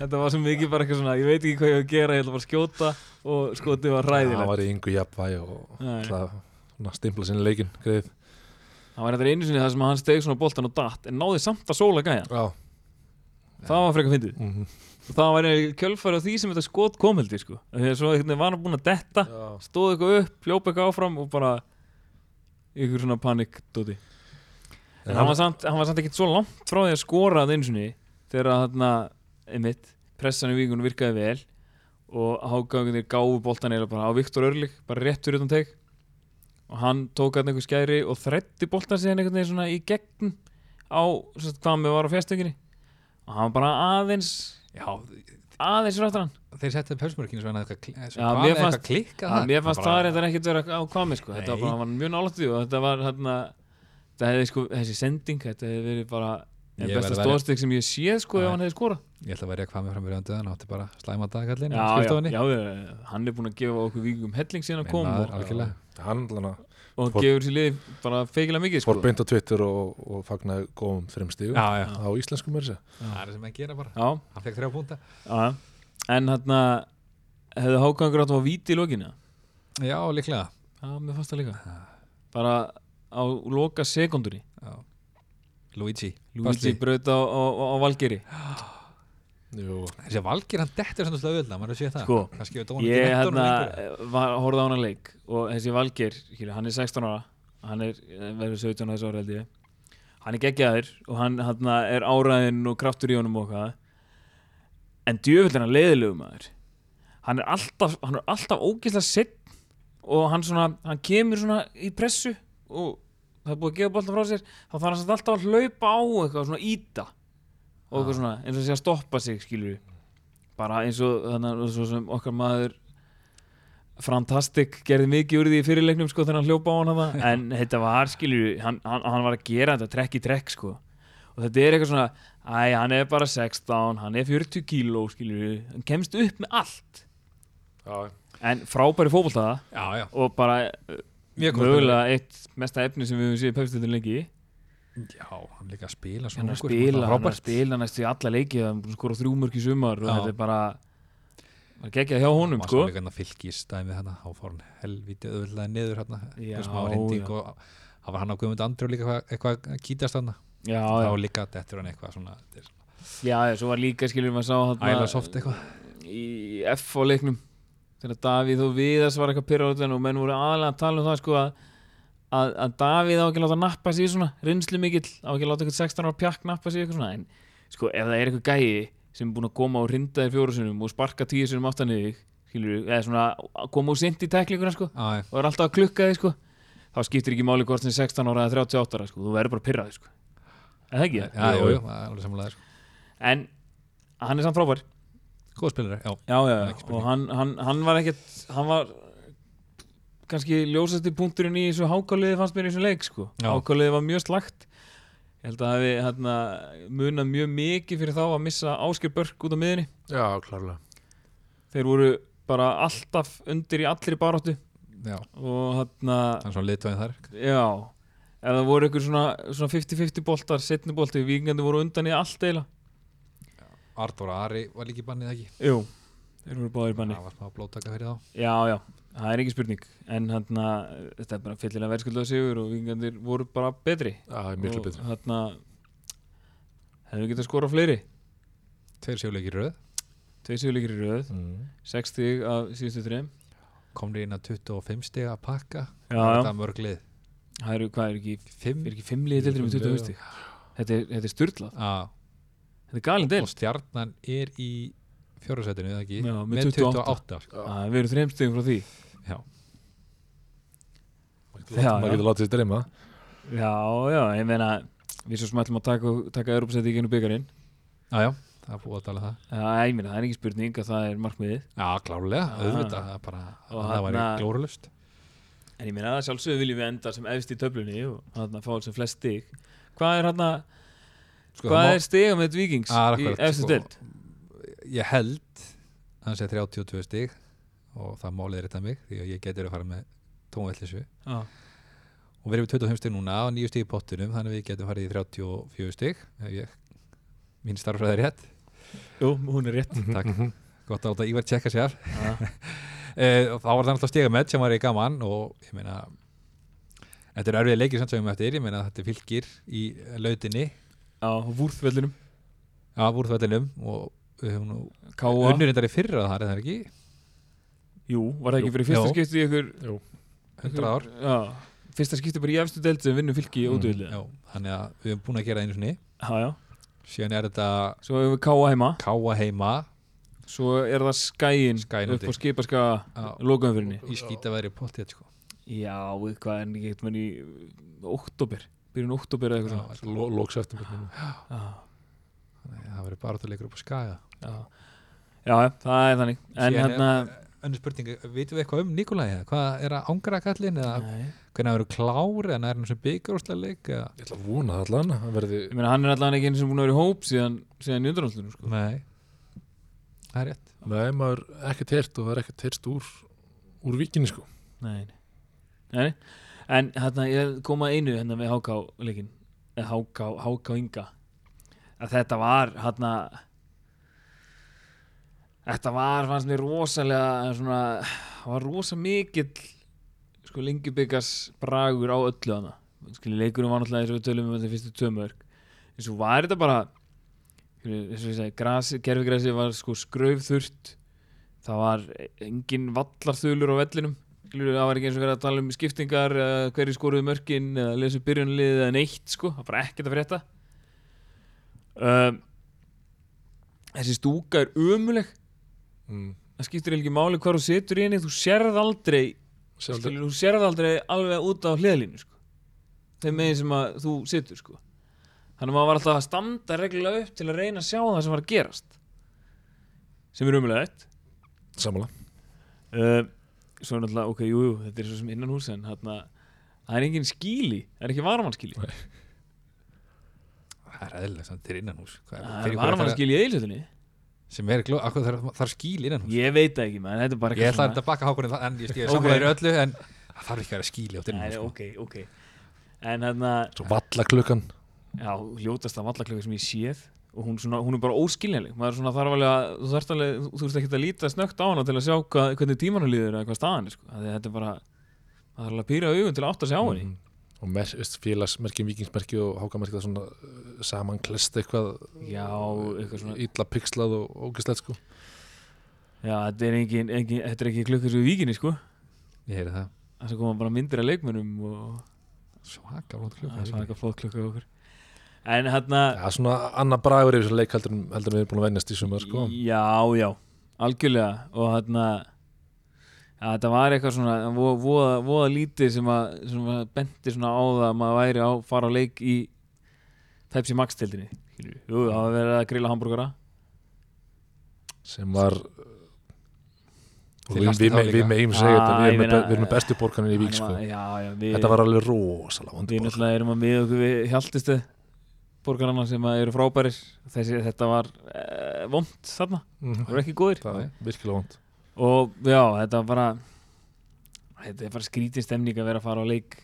A: þetta var svo mikið bara eitthvað svona, ég veit ekki hvað ég á að gera, ég ætla bara að skjóta og skotið var
C: Það
A: ræðilegt
C: var í yngu jafnvæg og
A: Nei.
C: alltaf svona, stimpla sinni leikinn greið
A: Það var hérna einu sinni það sem hann steg svona boltan og datt en náði samt að sóla gæjan,
C: Já,
A: það var frekar fyndið
C: mhm.
A: og það var eiginlega kjölfæri á því sem þetta skot komildi sko, þegar svo einhvern veginn var hann búin að detta
C: Já.
A: stóð eitthvað upp, hljópa eitthvað áfram og bara ykkur svona panikdóti En hann var samt, hann var samt ekkert svo langt frá því að skora það einu sinni þegar að þarna, einmitt, pressan í vikunum virkaði vel og hágangunir gáfu boltan eða bara á Viktor Örlig, bara rétt fyrir utan teg og hann tók hann einhver skæri og þrætti boltan síðan einhvern veginn svona í gegn á svo, hvað með var á fjastökinni og hann var bara aðeins
B: já,
A: aðeins ráttur hann
B: þeir settu Pepsimörkinu svona eitthvað kli-
A: Já,
B: svona
A: mér
B: hvað
A: fannst-
B: eitthvað klikkað
A: að
B: þar.
A: mér fannst
B: Bara-
A: það reyndar ekkert vera á hvað með sko þetta var
B: Nei.
A: bara, hann var mjög nálægt því og þetta var hérna þetta hefði sko, þessi sending, þetta hefði verið bara
B: Ég
A: einn besta
B: verð að verja-
A: stóðstík sem ég séð sko ef
B: Já.
A: hann hefði skorað
B: ég ætla að verja hvað með framverjum döðan átti bara slæma dagallin
A: já, já, já, já, hann er búinn að gefa okkur vingum helling síðan að
B: Minn
A: koma
B: maður,
A: og,
B: algjörlega.
C: Hann allan að
A: og hann
C: Fór-
A: gefur sér liði bara feikilega mikið sko.
C: fór beint á Twitter og, og fagnaði góðum þrim stígum
B: já, já,
C: á íslensku mér sér
B: það er sem að gera bara
A: já,
B: hann fekk þrjá púnta
A: já, en hérna hefði hákangur átt að fá víti í lokinu
B: já, líklega
A: já, mér fannst það líka bara á loka sekundunni
B: já. Luigi
A: Luigi braut á, á, á Valgeri
C: Jú,
B: þessi Valgir hann dettur svona slöðu öll maður sé það
A: Sko,
B: kannski við dónum
A: ég hérna var, horfði á hana leik og þessi Valgeir, hér, hann er 16 ára hann er, eh, verður 17 ára þessu ára held ég hann er geggjaður og hann hana, er áræðin og kraftur í honum og hvað en djöfull er hann leiðilegu maður hann er alltaf, hann er alltaf ógeðslega sinn og hann svona, hann kemur svona í pressu og það er búið að gefa boltan frá sér þá þarf hann samt alltaf að hlaupa á eitthvað svona íta og eitthvað svona, eins og sé að stoppa sig skilur við bara eins og, þannig, og svo sem okkar maður Fantastic gerði mikið úr því í fyrirleiknum sko þegar hann hljópa á hann
B: <laughs>
A: hana. en þetta var skilur við, hann, hann, hann var að gera þetta trekk í trekk sko og þetta er eitthvað svona, æ, hann er bara 16 hann er 40 kíló skilur við hann kemst upp með allt
C: Já,
A: en frábæri fótboltaða
B: já, já,
A: og bara uh,
B: mjög góð
A: mögulega eitt mesta efni sem við höfum séð í pepstöldin lengi
B: spilari. já, hann líka að spila
A: hann
B: svona
A: er að
B: ungur,
A: spila, hann er að
B: frábært.
A: spila næstu í alla leiki hann skora þrjú mörg í sumar og
B: Já.
A: þetta er bara bara geggjað hjá honum
B: Maður
A: sko
B: sá líka hann að fylgis dæmið hann þá fór hann helviti öðvöldlega niður hann
A: Já,
B: smá reynding og það var hann á Guðmund Andrjó líka eitthvað- eitthvað að kýtast hann
A: já, já,
B: þá líka dettur hann eitthvað svona þetta er
A: já, já, svo var líka skilur maður sá
B: æla
A: hann
B: soft eitthvað
A: í F á leiknum þegar Davíð og Viðars var eitthvað pyrrátun og menn voru aðalega að tala um það sko að, að, að Davíð á ekki að láta nappa sig í svona reynslu mikill, á ekki að láta eitthvað 16 ára pjakk nappa sig í eitthvað svona en sko ef það er eitthvað gæi sem er búin að koma og rinda þér fjóru sinum og sparka tíu sinum aftan í þig skilur eða svona að koma úr sint í teklinguna sko
B: Á,
A: og er alltaf að klukka þig sko þá skiptir ekki máli hvort sem 16 ára eða 38 ára sko, þú verður bara pyrraði sko en það ekki,
B: já, já, já, alveg samlega sko.
A: en hann er samt frábær
B: góð spilari, já,
A: já, já,
B: er ekki spurning.
A: og hann, hann, hann var ekkert hann var kannski ljósasti punkturinn í þessu hákáliði fannst mér í þessum leik sko,
B: Já.
A: hákáliði var mjög slagt ég held að hafi hérna, munað mjög mikið fyrir þá að missa Ásker Börk út á miðinni
C: já klárlega
A: þeir voru bara alltaf undir í allri baráttu
B: já
A: og hérna
B: hann er svona liðtöðin þar
A: Já, ef það voru ykkur svona svona 50-50 boltar, setni bolti vikingandi voru undan í allt eila
B: Artur Ari var líki bannið ekki
A: Jú, þeir voru báðir í banni
B: það var smá blóttaka fyrir þá
A: Já, já, það er ekki spurning en hérna, þetta er bara fyllilega verðskuldað sigur og vikingandir voru bara betri
C: Já, miklu
A: Og
C: betur
A: Hérna, hefur getað skorað fleiri
B: tveir sjóleikir í röð
A: Tvei sigurleikir í röð,
C: Mhm.
A: 6 stig af síðustu þreim
B: komnir inn að 25 stiga að pakka
A: Já,
B: þetta
A: já,
B: er mörglið
A: það eru, hvað er ekki
B: Fimm.
A: er ekki fimmliði deildir með 25 stig Þetta er, þetta er styrlað,
B: Já,
A: þetta er galin deil
B: og stjarnan er í fjórðarsætinu, eða ekki
A: Já, með
B: 28 sko.
A: Það við erum þreim stigum frá því
B: já,
A: Já,
C: Maður
A: já.
C: getur látið sér dreyma
A: Já, já, ég meina við svo sem ætlum að taka, taka Europasæti í gennum byggarinn
B: já, já, það er búið að tala um það
A: Já, ég meina, það er ekki spurning að það er markmiðið
B: já, klárlega,
A: Já.
B: auðvitað það, er bara,
A: Og
B: það væri
A: þarna-
B: glórulust
A: En ég meina, að sjálfsögðu viljum við enda sem efst í töflunni og þarna fá sem flest stig Hvað er hérna,
B: sko,
A: hvað
B: það
A: er stigum með vikings
B: Ah,
A: í
B: akkurat,
A: efstu
B: sko.
A: deild?
B: má, ég held hann sé 32 stig og það málið er þetta mig því að ég geti verið að fara með tónvellisvi
A: Já,
B: og við erum við 25 stig núna og 9 stig í pottunum þannig að við getum farið í 34 stig ef ég, mín starfræði er rétt
A: jú, hún er rétt
B: takk, gott að láta Ívar tjekka sér
A: Já,
B: Eh, og þá var það náttúrulega stegamett sem var í gaman og ég meina þetta er erfið leikir samt sem við eftir ég meina þetta er fylgir í lautinni
A: Já, vúrþvellinum,
B: af úrþvættinum og við höfum nú
A: Káa
B: unnur þetta í fyrra þar er það ekki
A: Jú, var það
B: Jú.
A: ekki fyrir fyrsta
B: Já.
A: skipti í ykkur
B: 100 ár
A: Já, fyrsta skipti bara í efstu deild sem vinnum fylki í
C: Mm,
A: ódöðlega
B: Já, þannig að við höfum búin að gera það einu sinni
A: Já, já,
B: síðan er þetta
A: svo hefur við Káa heima
B: káa heima
A: Svo er það skæin
B: Skaginn
A: upp
B: úti.
A: á skipaska
B: á,
A: lokaumfyrinni
B: í skýtaværi pottið sko.
A: Já, við hvað er ekki eitthvað í oktober, byrjun oktober eða eitthvað
B: Já,
C: Lo- Lóks eftir
A: svona.
B: þannig að það verður bara að leikur upp á skaga
A: Já, Ah, já. Já, já, það er þannig. En
B: Síðan er-
A: hérna,
B: önnur spurning, vitum við eitthvað um Nikolai eða? hvað er að angra kallin eða
A: Nei.
B: hvernig að verður klár eða er hann sem byggur úrslega leik eða
C: Ég ætla að vona það allan Hann verði
A: ég meina hann er allavega ekki eins og búin að vera í hóp síðan, síðan í undanáttunum, sko.
B: Nei, það er rétt
C: Nei, maður ekkert heyrt og það er ekkert heyrt úr úr vikinni sko
A: Nei, nei. nei. En hérna, ég kom að einu hérna með háká-leikin, eða háká, háká-inga, að þetta var, hérna, þetta var, fannst mér rosalega, eh, svona, var rosa mikill, sko, lengjubikars bragur á öllu hana. Skilji, leikurinn var náttúrulega eins og við tölum um þetta fyrstu tömörk. En svo var þetta bara, eins og ég segi, grasi, gerfigræsi var sko skraufþurrt, það var engin vallarþulur á vellinum skilur, það var ekki eins og verið að tala um skiptingar eða hverju skoruðu mörkin eða lesu byrjunlið eða neitt sko, það var bara ekkert að frétta um, þessi stúka er umuleg
C: mm.
A: það skiptir eiginlega ekki máli hvar þú situr í henni þú sérð aldrei,
C: Sjálfur
A: skilur, þú sérð aldrei alveg út á hliðalínu sko þeim megin sem að þú situr sko þannig að maður var alltaf að standa reglulega upp til að reyna að sjá það sem var að gerast sem er umlega
C: Sammála
A: uh, Svo er náttúrulega, ok, jú, jú, þetta er svo sem innan hús en þarna, það er engin skíli það er ekki varamanskíli
B: Það er eðlilega samt til innan hús Hvað
A: það
B: fyrir
A: er
B: hvað að-
A: varamanskíli í eilsöldinni
B: Sem er gló, akkur þarf, þarf skíl innan hús
A: ég veit það ekki, maður, þetta er bara
B: Ég ætla að baka hákunum það En ég stíði
A: Ok.
B: samfélagir öllu En það þarf ekki að vera skíli á sko. til
A: Nei,
B: innan hús
A: ok, ok en þarna,
C: Svo valla klukkan
A: já, hljótast af allaklöku sem ég séð og hún, svona, hún er bara óskiljanleg maður svona þarf alveg að, þú þarft alveg þú- þú veist ekki að líta snögt á hana til að sjá hvað, hvernig tímanu líður eða hvað staðan er, sko. Af því að þetta er bara maður þarf alveg að pýra augun til að átta sig á henni
B: Mm.
C: Mhm. Og mes- veist, félagsmerki, vikingsmerki og hákamerki það er svona uh, samanklest eitthvað
A: já, eitthvað svona
C: illa pixlað og ógislegt sko
A: já, þetta er, engin, engin, þetta er ekki klukkur svo í víkinni, sko
B: Ég heyri það
A: það sem koma bara myndir af leikmönnum og
B: Svaka
A: það
B: flott klukka
A: er svona eitthvað flott klukka okkur en hérna
C: Það er svona annar bragur yfir þessum leik heldur en heldur en við erum búin að venjast í sumar sko
A: já, já, algjörlega og hérna ja, þetta var eitthvað svona vo- voða, voða lítið sem að, sem að benti svona á það að maður væri á fara á leik í Pepsi Max tildinni Jú, það var verið að grilla hambúrgara
C: sem var og
B: Þið
C: við,
B: lastu
C: við,
B: þá
C: me- við
B: líka.
C: meðum segja þetta
A: Ah,
C: við erum,
A: ég
C: meina,
A: meina-
C: við erum með bestu borgarnir í vík sko
A: já, já, við,
C: þetta var alveg rosalega
A: við
C: vandi borg
A: náttúrulega erum að miða okkur við hjaltistu borgarana sem að eru frábærir þessi, þetta var e, vond þarna,
C: Mhm.
A: það voru ekki góðir
C: það er virkilega vond
A: og já, þetta var bara þetta er bara skrítin stemning að vera að fara á leik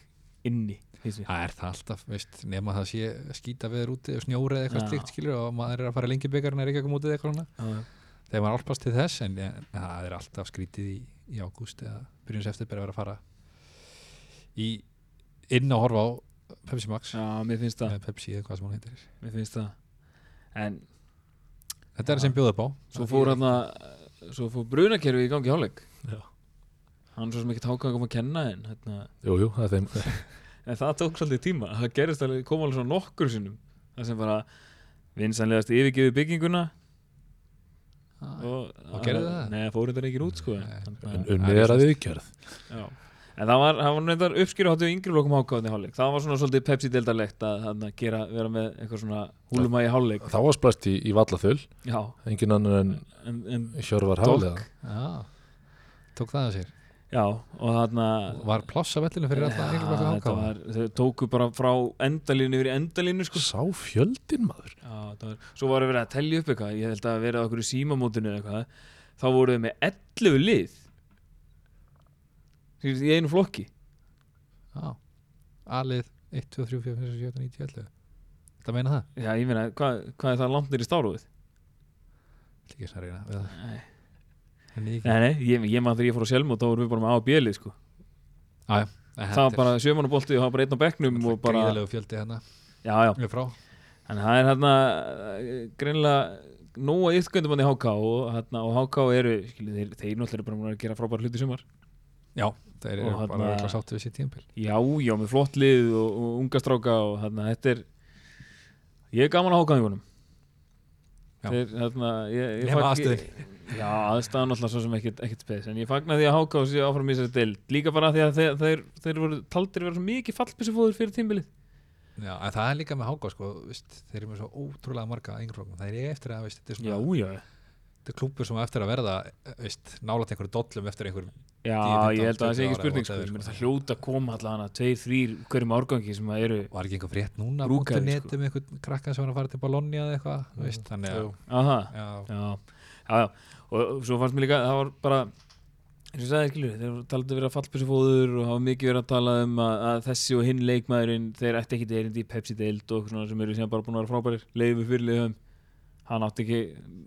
A: inni finnst mér.
B: Það er það alltaf, veist, nema það sé skýta veður úti og snjóra eða eitthvað
A: Já.
B: slíkt skilur og maður er að fara lengi byggarinn er ekki að koma út eða eitthvað svona þegar maður álpast til þess en ja, það er alltaf skrítið í, í ágúst eða byrjunns eftir bara að vera að fara í inn að horfa á Pepsi Max
A: já, mér finnst það,
B: eða Pepsi eða hvað sem hún heitir
A: mér finnst það en
B: þetta er
A: Já.
B: það sem bjóða upp á
A: svo fór hann að svo fór brunakerfi í gangi hálfleik
C: Já.
A: hann svo sem ekki tákangum að kenna en, hérna,
C: jú, jú, það er þeim
A: en það tók svolítið tíma það gerist alveg, kom alveg svona nokkur sinnum það sem bara vinsanlegast yfirgefið bygginguna
B: að
A: og,
B: Og gerðu það?
A: Nei, fóruð þetta ekki út sko
B: Nei.
A: Þannig að-
C: En unnið er að viðgjörð
A: Já. En það var, það var nefndar uppskýru hátu yngri flokum hákáðin í hálfleik. Það var svona svolítið Pepsi-deildarlegt að, þarna gera, vera með eitthvað svona húluma í hálfleik.
C: þá var splæst í, í vallaþul
A: Já,
C: engin annar en
A: en, en
C: Hjörvar
A: Dogg.
C: Hafliða
B: já, tók það að sér
A: já, og þarna...
B: var pláss á vellinu fyrir alltaf
A: Já,
B: einhverjum
A: þetta
B: ákáð
A: var, þau tóku bara frá endalínu yfir í endalínu sko.
C: sá fjöldin maður
A: Já, það var, svo varum við að tellja upp eitthvað, ég held að vera okkur í símamótinu eða eitthvað, þá voru við með 11 lið Skilur, í einu flokki.
B: alið 1, 2, 3, 4, 5, 6, 7, 9, 10, 11 það meina það?
A: Já, ég meina, hvað, hvað er það langt nýr í stáruðið?
B: Ætli ekki að reyna við það.
A: Nei,
B: En ég-
A: nei, ég, ég maður þegar ég fór á sjálfmót, þá vorum við bara með A og B lið sko.
B: Nei,
A: það
B: þetta
A: var
B: er-
A: bara sjömannabolti og það var bara einn á bekknum
B: þetta er
A: og bara,
B: gríðarlegur fjöldi hérna
A: já já,
B: upp frá
A: en það er hérna greinlega nóga yfkvöndum hann í HK og, hérna, og HK eru, skilju, þeir, þeir náttúrulega eru bara múin að gera frábæra hluti í sumar
B: Já, það eru
A: Og hérna-
B: bara
A: þarna-
B: örugglega sáttu við sér tímpil
A: já, já, með flott lið og, og unga stráka og hérna, þetta er ég er gaman að HK í honum
B: Já.
A: þeir, hérna ég, ég
B: Nema
A: fagna-
B: aðstöður.
A: já, aðstæðan alltaf svo sem ekkert, ekkert spes en ég fagna því að HK sé áfram í þessari deild líka bara því að þeir, þeir, þeir voru taldir vera svo mikið fallbissufóður fyrir tímbilið
B: Já, en það er líka með háká sko, veist, þeir eru með svo ótrúlega marga yngreflokkum, það er eftir að veist, þetta er
A: já,
B: svona
A: já,
B: þetta er klúpur sem á eftir að verða veist, nálægt einhverju dollum eftir einhverjum
A: Já,
B: 10-15
A: ég held að það sé ekki
B: ára
A: spurning sko.
B: whatever,
A: Ég meina,
B: sko.
A: Það hljóta að koma allan að tveir, þrýr hverjum árgangi sem að eru
B: var ekki einhver frétt núna
A: Brúkaði,
B: punktur
A: sko.
B: net um einhvern krakka sem var að fara til Bologna eða eitthvað, veist, þannig að
C: Jú.
A: Aha,
B: já,
A: já, já, já og svo fannst mér líka, það var bara eins og ég sagði, skilur, þeir talaði að vera fallbissufóður og hafa mikið verið að tala um að, að þessi og hinn leikmaðurinn, þeir ætti ekki erindi í Pepsi-deild og eitthvað svona sem eru sem bara búin að vera frábærir leifu fyrir liðum, hann átti ekki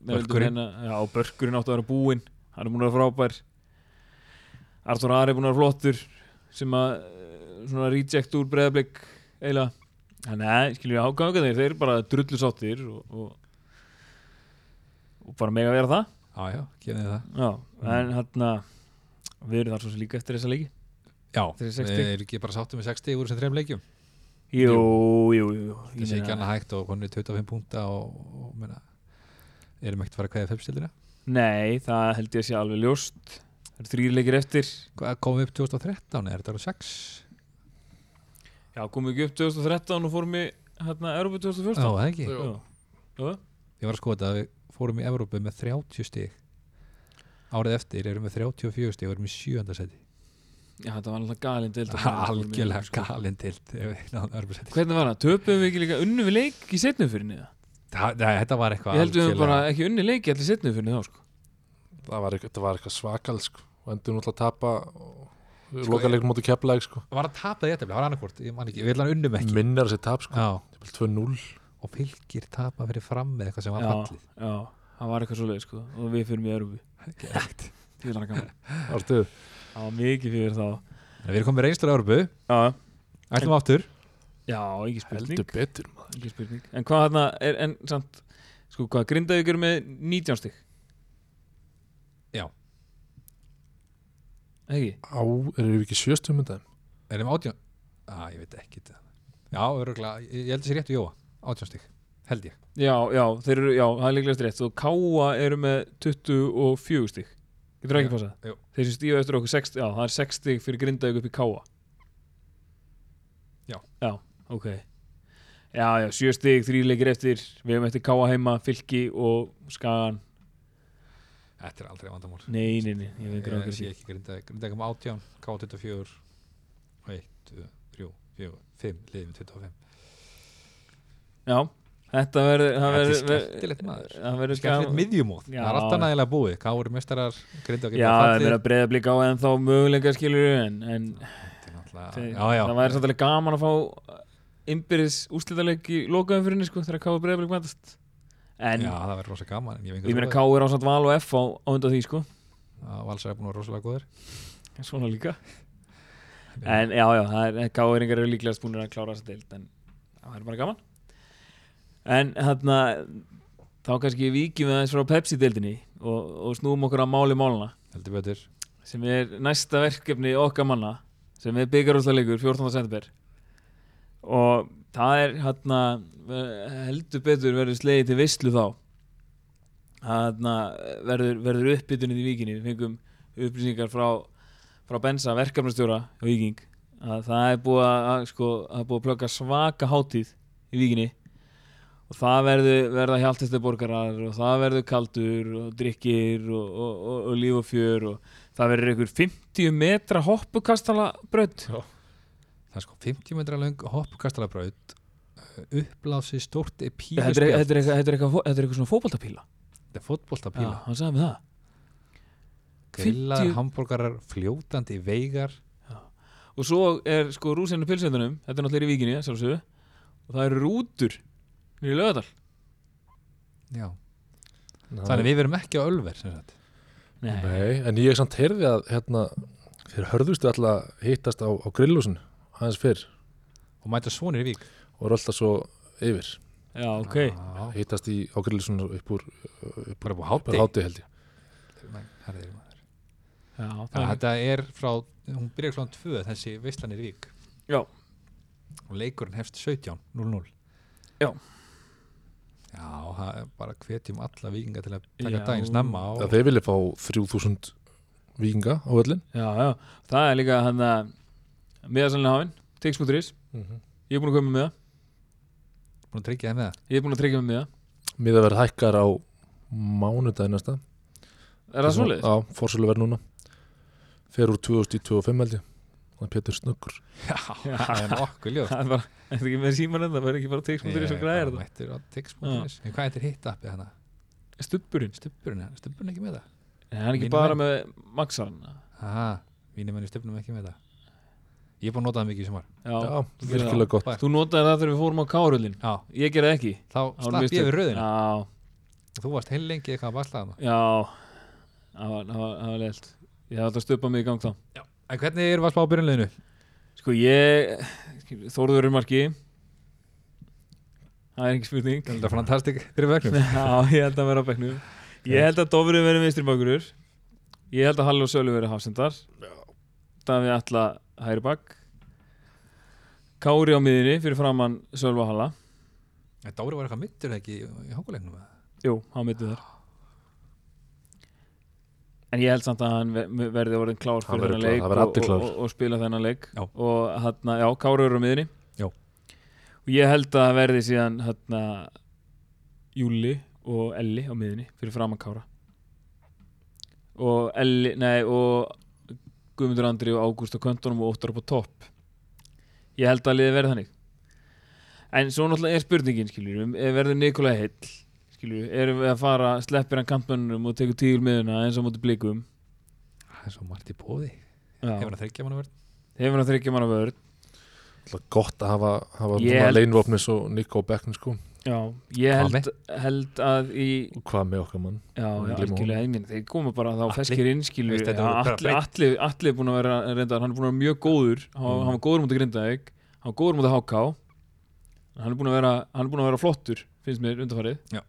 A: með völdum
B: Börkurinn.
A: hérna- Já, börkurinn átti að vera búinn, hann er búin að vera frábær Artur Ari er búin að vera flottur sem að eh, svona reject úr breðablik eiginlega Þannig að, skilur ég áganga þeir, þeir eru bara drullu sáttir og, og, og bara mega vera það.
B: já, já, gefið þið það
A: Já, en hérna, við erum þar svo sem líka eftir þessa leiki.
B: Já,
A: Þeir eru sex
B: við
A: stig.
B: erum ekki bara sáttum með 60 úr þessum þreim leikjum
A: Jú, jú, jú.
B: það sé ekki annað hægt og konur 25 púnta og, og meina, erum ekkert að fara að kveða fepstildina
A: Nei, það held ég að sé alveg ljóst. Það eru þrýr leikir eftir.
B: komum við upp 2013 eða er þetta alveg 6
A: Já, komum við ekki upp 2013 og fórum við hérna, Európa
B: Já,
A: 2014
B: það ekki
C: Jú.
A: Jú. Jú.
B: Ég var að skoða þetta að við fórum í Evrópu með 30 stig Árið eftir erum við 34 stig og erum í sjönda seti
A: Já, þetta var alltaf galinn deild
B: <laughs> Algjörlega
A: sko.
B: galinn til Þetta
A: Hvernig var það? Töpuðum við ekki líka unnu við leik í setnumfyrinni það?
B: var eitthvað
A: Ég held við höfum
B: algjörlega-
A: bara ekki unni leik í allir setnumfyrinni þá sko
C: það var, eitthvað- þetta var eitthvað svakal sko. og endur náttúrulega að tapa og sko, lokaleikum móti keflaðið sko.
B: Var að tapa E þetta, það var annarkvort Ég man ekki, við ætlaðum unnum ekki
C: minnar þessi tap sko.
B: Já,
C: Jafnvel 2-0
B: og fylgir tapa fyrir fram með eitthvað sem var
A: Já,
B: fallið
A: já, það var eitthvað svoleið sko og við fyrir mig Európu <laughs>
B: Geðveikt.
A: Því var það gaman.
C: Ártu,
A: Það var mikið fyrir þá
B: En Við erum komið reynstur á Örbu,
A: Já,
B: ætlum aftur
A: já, ekki spurning
C: heldur betur maður.
A: Ekki spurning En hvað hérna er, en samt Sko, hvað Grindavík eru með 19 stig?
B: Já.
A: Ekki?
C: á, erum við ekki sjöstum um það
B: Erum átjón? Æ, ah, ég veit ekki þetta. Já, öruglega, ég ég held þessi réttu Jóa, átjón stig, held ég
A: Já, já, þeir eru, já, það er líklegast rétt og Káa eru með 24 stig Getur það ekki
B: Já,
A: passað?
B: jú.
A: Þeir sem stífa eftir okkur 6 Já, það er 6 stig fyrir Grindavík upp í Káa
B: Já.
A: Já, ok Já, já, 7 stig, 3 leikir eftir Við hefum eftir Káa heima, Fylki og Skagan
B: Þetta er aldrei vandamál
A: Nei, nei, nei, ég veit ekki
B: Ég
A: rákir
B: sé ekki um grindaði, grindaði kom átjón, K24 1, 2, 3, 4, 5 liðið með 25
A: Já, þetta verður það
B: Þetta er
A: verður-
B: skemmtilegt, maður.
A: Það verður
B: Skemmtilegt
A: gaman-
B: miðjumóð,
A: Já.
B: það er alltaf nægilega búið Hvað voru mestarar, grindaði
A: Já, það verður að breyða blika á en þá möguleika skilur en, en
B: fallið
A: þeir,
B: Já, já,
A: það væri samt alveg gaman að fá innbyrðis úslitaleg í lokaðum fyrir henni sko þegar K.U. breyðablik mætast en
B: já, það verður rosa gaman en Ég, hef enga
A: ég meina
B: trú á því.
A: K.U. er ásamt val og F á, á undan því sko
B: Já, Valsar er búin að vera rosalega góður
A: svona líka en já já, það er K.U. er engar líklegast búin að klára þessa deild en það er bara gaman en þarna þá kannski víkjum við aðeins frá Pepsi-deildinni og, og snúum okkur að máli máluna
B: Heldur betur
A: sem er næsta verkefni okkar manna sem er byggarúslaleikur 14. september og það er hérna eh, heldur betur verður slegið til veistlu þá hérna verður, verður uppbytunnið í vikinni við fengum upplýsingar frá frá Bensa, verkefnastjóra á Viking að það er búið að, að sko, það er búið að plöka svaka hátíð í Vikinni og það verður verða hjálptæstu borgarar og það verður kaldur og drikkir og, og, og, og líf og fjör og það verður einhver 50 metra hoppukastala brödd
B: Það er sko 50 metra löng hoppkastalabraut upplási stórt
A: þetta
B: píluspjald
A: er, þetta, er eitthvað, þetta, er eitthvað, fó- þetta er eitthvað svona fótboltapíla
B: Þetta er
A: já,
B: fótboltapíla
A: hann sagði með það
B: Grillar,
A: 50
B: hambúrgarar, fljótandi veigar
A: og svo er sko rúsinu pilsöndunum þetta er náttúrulega í Vikinni, sjálfsögðu og það eru rútur niður í lögadal
B: Já. Þannig við verum ekki á Ölver sem sagt.
C: Nei, en ég samt heyrði að hérna, þeir hörðustu alltaf hittast á, á grillúsin aðeins fyrr
B: og mæta svonir í vík
C: og eru alltaf svo yfir
A: já, ok
B: Já,
C: hittast í, á grillúsin upp úr
B: Bara búið
C: upp úr
B: hátti
C: hátu held ég
A: Já, það er
B: Þetta er frá hún byrjar klán 2 þessi veistlanir í vík
A: Já.
B: og leikurinn hefst 17 0-0
A: Já.
B: Já, það er bara hvetjum alla vikinga til að taka
A: Já.
B: daginn snemma á
C: að þeir vilja fá 3000 vikinga á öllin
A: Já, já, það er líka hann að miðasalina hafinn, tix.is
C: Mhm.
A: ég er búin að koma með það,
B: búin að tryggja þeim með það
A: ég er búin að tryggja mig með
C: miða verð hækkar á mánudaginn næsta
A: það er það svoleiðis?
C: Já, fórsölu verð núna fer úr 2025 held ég það er Pétur Snöggur
B: Já, það er
A: <laughs>
B: nokkuð ljóð
A: Það er bara, þetta er ekki með síman en það er ekki bara tix.is og hérna. græðir
B: það Mættur á tix.is En hvað heitir hitt appið hana?
A: það Stubburinn,
B: Stubburinn, er stubburinn ekki með það?
A: Nei, hann er ekki
B: Mínum
A: bara
B: menn.
A: með hérna. maxarann
B: Aha, mínir menn í stubburinn ekki með það Ég er búin að nota það mikið í sumar
A: Já,
C: Já, virkilega gott
A: þú notaði það þegar við fórum á káröldin
B: Já,
A: ég gerði það ekki
B: þá
A: Það voru
B: slapp ég
A: mistök.
B: við röðinu
A: Já,
B: Þú varst heil lengi eitthvað að baslaða maður
A: já, það var- það var það var leilt Ég hafði að stubba mig í gang þá
B: En hvernig erum við að spá byrjunleginu?
A: Sko ég, Þórður er í marki Það er ekki
B: <laughs>
A: spurning
B: Þetta er fantastik fyrir
A: <laughs>
B: vegnum
A: Já, ég held að vera á bekknum Ég held að Dofri verið vinstri bakurur Ég held að Halli og Sölu verið hafsendar Davíð Alla hægri bak Kári á miðinni fyrir framann Sölva Halla
B: En Dóri var eitthvað mittur ekki í- í hókulegnum
A: Jú, hann myndi þar En ég held samt að hann ver- verði orðin klár
C: Hann
A: fyrir
C: verður
A: þennan
C: klár,
A: leik
C: það verður
A: og,
C: allir
A: og,
C: klárir.
A: og, og spila þennan leik
B: Já.
A: og hann, já, Kári eru á miðinni
B: Já.
A: og og ég held að það verði síðan hérna Júli og Elli á miðunni fyrir framan Kára og Elli, nei og Guðmundur Andri og Ágúst á köntunum og Óttar upp á topp ég held að liði verði þannig en svo náttúrulega er spurningin skilur við, verður Nikolai heill skilur við, erum við að fara, sleppir hann kantmönnum og tekur tíl miðuna eins og mútið blikum
B: Það er svo margt í bóði
A: Já.
B: Hefur hann þryggja mann að verð
A: hefur hann þryggja manna vörð
C: Alltaf gott að hafa, hafa
A: Ég
C: yeah.
A: held-
C: leinvopnis og Nico Beckn sko
A: já, ég
B: Hvað
A: held, held að í
C: og hvað með okkar mann
A: Já, já,
C: Gleyma
A: algjörlega einminn, þeir koma bara þá
B: Atli.
A: feskir innskilu
B: Veist, þetta voru bara
A: Allir
B: breytt.
A: alli, alli er búin að vera reyndar, hann er búin að vera mjög góður hann,
C: Mm.
A: hann var góður mútið Grindavík, hann var góður mútið HK hann er búin að vera, hann er búin að vera flottur finnst mér undarfarið
B: Já.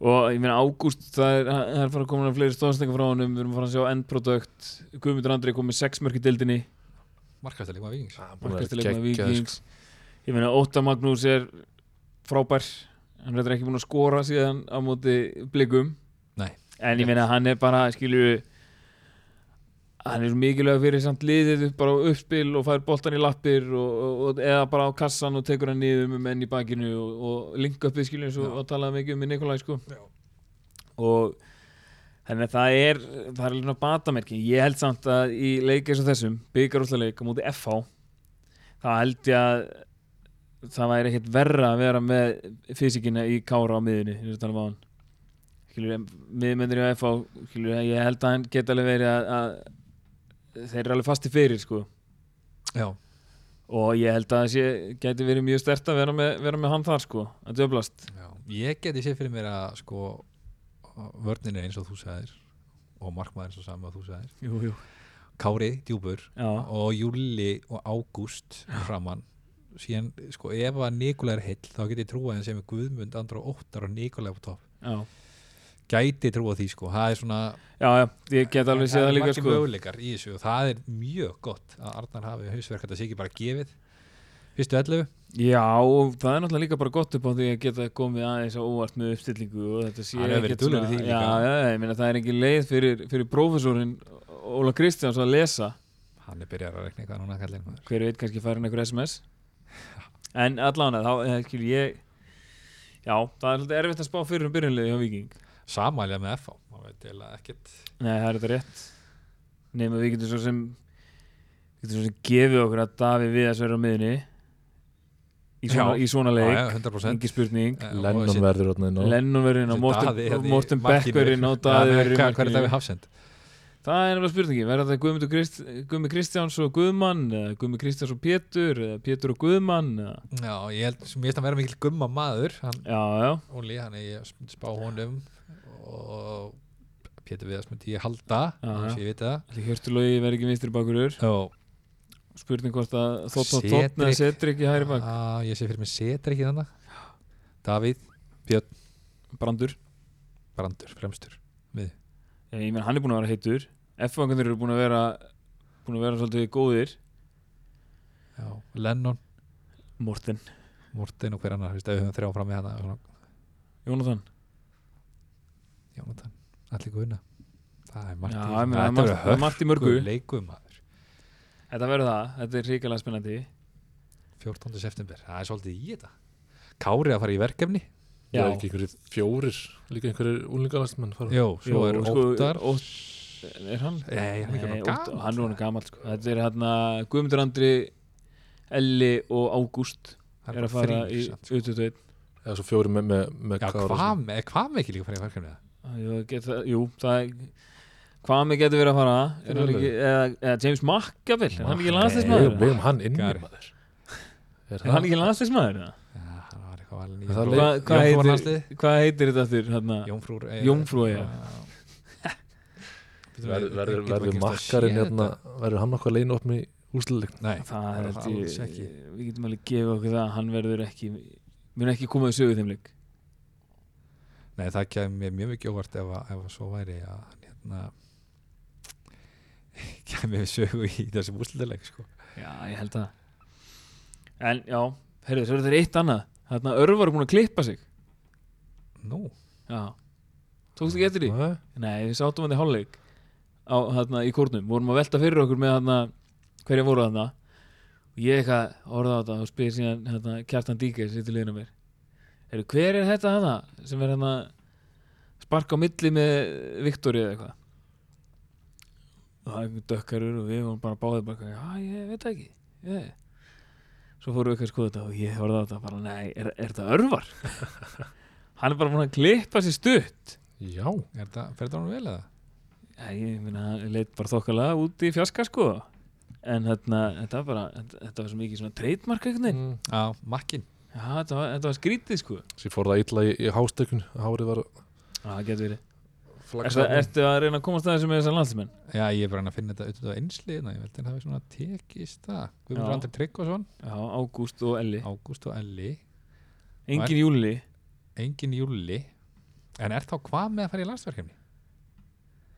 A: og ég meina Ágúst það er, það er fara að koma fleiri stóðsningar frá honum við erum að fara að sjá endprodukt Guðmundur Andri komið sex mörk í dildinni
B: Markastar líka vikings
A: markastilegum
C: sko.
B: sko.
A: vikings ég meina Óta Magnús er frábær hann er reyndar ekki búin að skora síðan á móti blikum
B: Nei.
A: en ég meina hann er bara skilur hann er svo mikilvæg fyrir samt liðið bara á uppspil og fær boltan í lappir og, og, og, eða bara á kassan og tekur hann niður með menn í bakinu og, og linka uppið skilur eins og
B: Já.
A: og talaði mikið um með Nikolaj sko
B: Já.
A: og þannig að það er það er alveg svona batamerki ég held samt að í leik eins og þessum byggarúslaleik á móti FH þá held ég að það væri ekkert verra að vera með fysikina í kára á miðunni eins og tala um áðan skilur, miðmyndir í FH skilur, ég held að hann geta alveg verið að, að þeir eru alveg fasti fyrir sko
B: Já,
A: og ég held að það sé, geti verið mjög stert að vera með, vera með hann þar sko að döblast
B: já Ég geti séð fyrir mér að sko vörnin er eins og þú sagðir og markmaður eins og saman og þú sagðir
A: jú, jú.
B: Kári, djúpur
A: Já,
B: og júli og ágúst framann síðan sko ef að Nikolaj er heill þá get ég trúa þeim sem er Guðmund, Andra og Óttar og Nikolaj á topp
A: já,
B: gæti trúa því sko, það er svona
A: já, já, ég get alveg séð það líka
B: margir
A: sko
B: möguleikar í þessu og það er mjög gott að Arnar hafi hausverk að það sé ekki bara gefið fyrstu 11
A: Já, og það er náttúrulega líka bara gott upp á því að geta komið aðeins á óvart með uppstillingu og þetta sé
B: Hann hefur verið
A: ekkert svona-
B: duglegur í því líka.
A: Já, já, já, ég meina það er engin leið fyrir, fyrir prófessorinn Óla Kristjáns að lesa
B: hann er byrjar að rekna eitthvað núna kallinn maður.
A: hver veit kannski færin einhver SMS en allan að þá, eh, skil ég Já, það er svolítið erfitt að spá fyrir um byrjunliði hjá Viking
B: samælja með FH maður veit eiginlega ekkert
A: Nei, það er þetta rétt Nefnum við getum svo sem við getum svo sem gefið okkur að Davi Viðas verður á miðunni í svona,
B: Já.
A: í svona
B: Já,
A: leik,
B: já, 100%
A: engi spurning
B: Eh, og
C: Lennon
B: þessi-
C: verður þarna inn á.
A: Lennon verður inn á
B: þessi Daði
A: Morten,
B: hérna í
A: Morten Beck
B: markinu.
A: verður inn á Daði
B: Já,
A: verður í
B: hvað- hvað er
A: markinu.
B: Davíð Hafsend
A: Það er nefnilega spurningi, verður þetta Guðmundur Krist, Guðmi Kristjáns og Guðmann eða Guðmi Kristjáns og Pétur eða Pétur og Guðmann eða-
B: já, ég held sem ég veist að vera mikil gumma maður hann
A: Já, já,
B: Óli, hann er ég að spá honum og Pétur Viðars myndi ég halda
A: Já,
B: eins og
A: já.
B: ég veit það
A: allir hjörtulögi verður ekki vinstri bakurur
B: og
A: spurning hvort að þótt og
B: Cedric.
A: tótt neða setur ekki hægri bak
B: að Ah, ég sé fyrir mig setur ekki þannig Davíð, Björn,
A: Brandur,
B: Brandur, Fremstur
A: ég, ég menn hann er búin að vera heitur F-vangunir eru búin að vera búin að vera svolítið góðir
B: já, Lennon,
A: Morten,
B: Morten og hver annar veist, ef við höfum þrjá fram í hana svona,
A: Jónatan
B: Jónatan, allir guðuna það er margt
A: Já, ég
B: í þessu.
A: meina, margt-
B: Þetta verður
A: það er margt í mörgu.
B: hörku leikum maður
A: Þetta verður það, þetta er ríkilega spennandi
B: 14. september, það er svolítið í þetta Kári að fara í verkefni
C: Það
A: Já.
C: er ekki einhverjir fjórir líka einhverjir úlingalastmenn fara
B: Jó, svo
A: Jú,
B: er
A: sko,
B: Óttar
A: Ótt- Er hann?
B: Nei, hann er ekki
A: Nei,
B: orðinn
A: Ótt-
B: gamall.
A: hann er hann gammal sko. þetta er hann að Guðmundur Andri Elli og Ágúst
B: Það
A: er að fara
B: þrír
A: í
B: samt, sko.
A: U21
C: eða svo fjórir með, með, með
B: Já,
C: Kára og
B: hvað með, hvað með ekki líka fara í verkefni það?
A: Jú, get það- jú, það er hvað mig getur verið að fara er hann ekki, eða, eða James Mackabell er hann ekki
B: Mack-
C: svona. Megum-
A: landsleismæður?
C: megum hann inni
B: Gary.
C: maður er
A: Er hann ekki landsleismæður? eða?
B: Já, hann var eitthvað valin í
C: Það
B: Jómfrú-
C: leik-
A: Hvað hvað
B: Jómfrúarlandslið?
A: heitir, hvað heitir þetta þurr? Hérna?
B: Jómfrúr eh,
A: Jómfrú,
B: <laughs>
A: já.
C: verður, verður, verður makkarinn hérna verður hann okkar leinu opni í úrsluleikn
B: Nei,
A: Það er
B: bara alls
A: þetta,
B: ekki
A: við getum alveg gefið okkur það að hann verður ekki mun ekki koma í sögu í þeim leik
B: Nei, það kemur mér mjög mikið óvart ef, að- ef að svo væri að hann hérna <laughs> kemur við sögu í þessum úsliðleik sko.
A: Já, ég held það En já, heyrðu, svo er þetta eitt annað Þarna örvar er búin að klippa sig
B: Nú,
A: Já Tókstu ekki eftir því?
C: það
A: Nei, við sátum hann í hálfleik á, þarna, í kórnum, vorum að velta fyrir okkur með þarna, hverja voru þarna ég eitthvað orða á þetta og spyr síðan hérna, Kjartan Díkir sér til liðinu mér Heru, hver er þetta hana sem er hérna sparka á milli með Viktori eða eitthvað og það er einhver dökkarur og við vorum bara báðið bara, eitthvað, já ég veit það ekki ég. svo fórum við eitthvað að skoða þetta og ég horfði á þetta bara, nei, er, er þetta örvar? hann er bara búin að klippa sér stutt
C: Já,
B: Er þetta, fer þetta honum vel eða?
A: Já, ég meina, hann leit bara þokkalega út í fjaska sko en þarna, þetta var bara þetta, þetta var svo mikið svona treytmark einhvern veginn
C: mm.
B: Já, makkin
A: já, þetta var, þetta var skrítið sko já,
C: sér fór það illa í, í hástökun Hárið var
A: það getur verið
C: flaggað
A: Ertu, ertu að reyna að komast að þessu með þessar landsmenn?
B: Já, ég er bara að finna þetta auðvitað einsliðna Ég veldi að það er svona tekist það Guðmundur
A: Já.
B: Andri Tryggvason,
A: Já, Ágúst og Elli
B: Ágúst og Elli
A: Engin Júli
B: Engin Júli En er þá hvað með að fara í landsverkefni?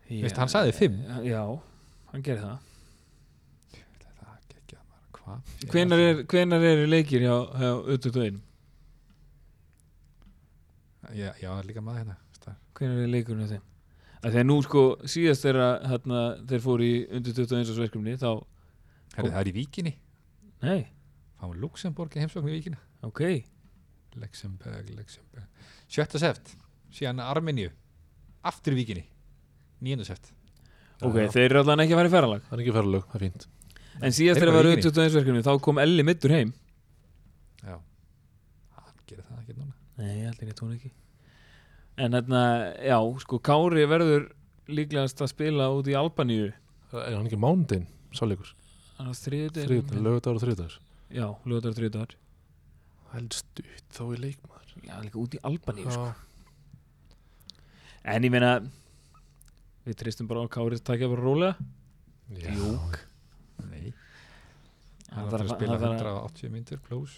B: Veistu, hann sagði fimm.
A: Já, hann gerir það
B: Það er ekki að maður hvað
A: Hvenar, er, hvenar eru leikir hjá, hjá U21?
B: Já, já, það er líka maður hérna veist það.
A: Hvenar eru leikurinn hjá þeim? Af Þegar nú sko síðast þeirra hérna, þeir fóru í undir 21 árs verkefni þá,
B: Herri, það er í Víkinni
A: nei,
B: Fáum Luxemburg í heimsókn í Víkinni
A: ok
B: Luxemburg, Luxemburg Sjötta seft, síðan Armeníu Aftur í Víkinni Nýjönda seft
A: Ok, þeir eru allan ekki að fara í ferralag
C: Það er ekki ferðalög, það er fínt
A: En síðast
B: Þeir
A: þegar var
B: bara í gríni.
A: U21 verkefni þá kom Elli mittur heim
B: Já, hann gerir það ekki núna
A: Nei, allir rétt hún ekki En hérna, já, sko Kári verður líklegast að spila út í Albaníu
C: Er hann ekki mándin, sáleikur?
A: Hann á þriðudagur
C: Þriðdagur, lögudagur og þriðdagur
A: Já, lögudagur þriðudagur
C: Það er stutt þá í leikmaður
A: Já, líka út í Albaníu sko.
C: Já,
A: En ég meina Við tristum bara á Kári að taka bara rólega
C: já.
A: Júk
B: Nei,
A: Hann þarf
B: hann þarf að spila
A: hann þarf
B: 180 myndir plus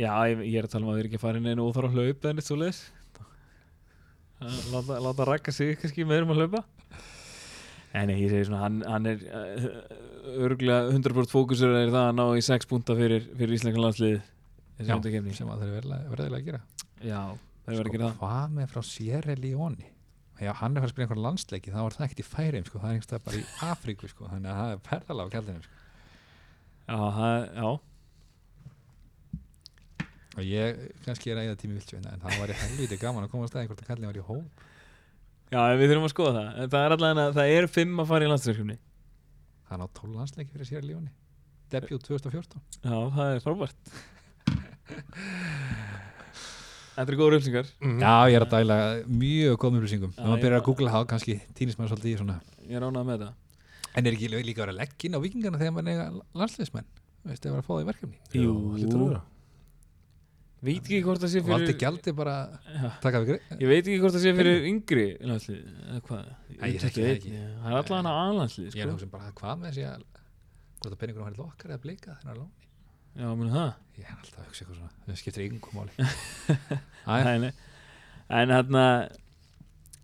A: Já, ég, ég er að tala um að við erum ekki að fara inn einu óþar að hlaupa en eitt svo leis Láta, láta rakka sig kannski með erum að hlaupa En ég segi svona, hann, hann er uh, örgulega 100% fókusur er það að ná í 6 punta fyrir, fyrir Íslenska landslið þessi
B: Já. sko.
A: undarkefni
B: sem að þeir verðilega að gera
A: Já, það er verið að gera það
B: hvað með frá Sierra Leone Já, hann er að fara að spila einhver landsleiki þá var það ekkert í færim, sko, það er einhverstað <laughs> bara í Afríku sko, þannig að það er perðalega á kaldinum sko.
A: Já, það, já
B: og ég kannski er að eða tími viltjöfina en það var í helviti gaman að koma að staði hvort að kallin var í hóp
A: Já, en við þurfum að skoða það En Það er allavega, það er 5 að fara í landsverkefni
B: hann á 12 landsleiki fyrir Sierra Leone debut 2014
A: Já, það er frábært Þetta er góður upplýsingar
C: Mm.
B: Mm. Já, ég er að dæla mjög góðum upplýsingum
A: Já,
B: Ná maður
A: ég-
B: byrjar að googla það kannski týnist maður svolítið í svona
A: Ég er ánað með þetta
B: En er ekki líka að vera leggin á vikingana þegar maður er eiga landsleismenn veistu, ef maður er að fá það í verkefni
C: Jú,
A: Jú.
C: lítur að vera
A: Veit ekki hvort það sé
B: og
A: fyrir
B: aldrei gjaldi bara
A: Já.
B: taka við greið
A: Ég veit ekki hvort það sé fyrir yngri landslið, eða hvað?
B: Nei, ég þekki það ekki.
A: Já, Það er allan að aðlandslið,
B: Ég er
A: sko.
B: að hugsa um bara hvað með þessi að hvort að peningunum var í lokkar eða blika þegar hann er á lóni
A: Já, muni það?
B: Ég er alltaf að hugsa eitthvað svona, það skiptir yngum
A: <laughs>
B: máli Æ,
A: Nei, nei. En hérna,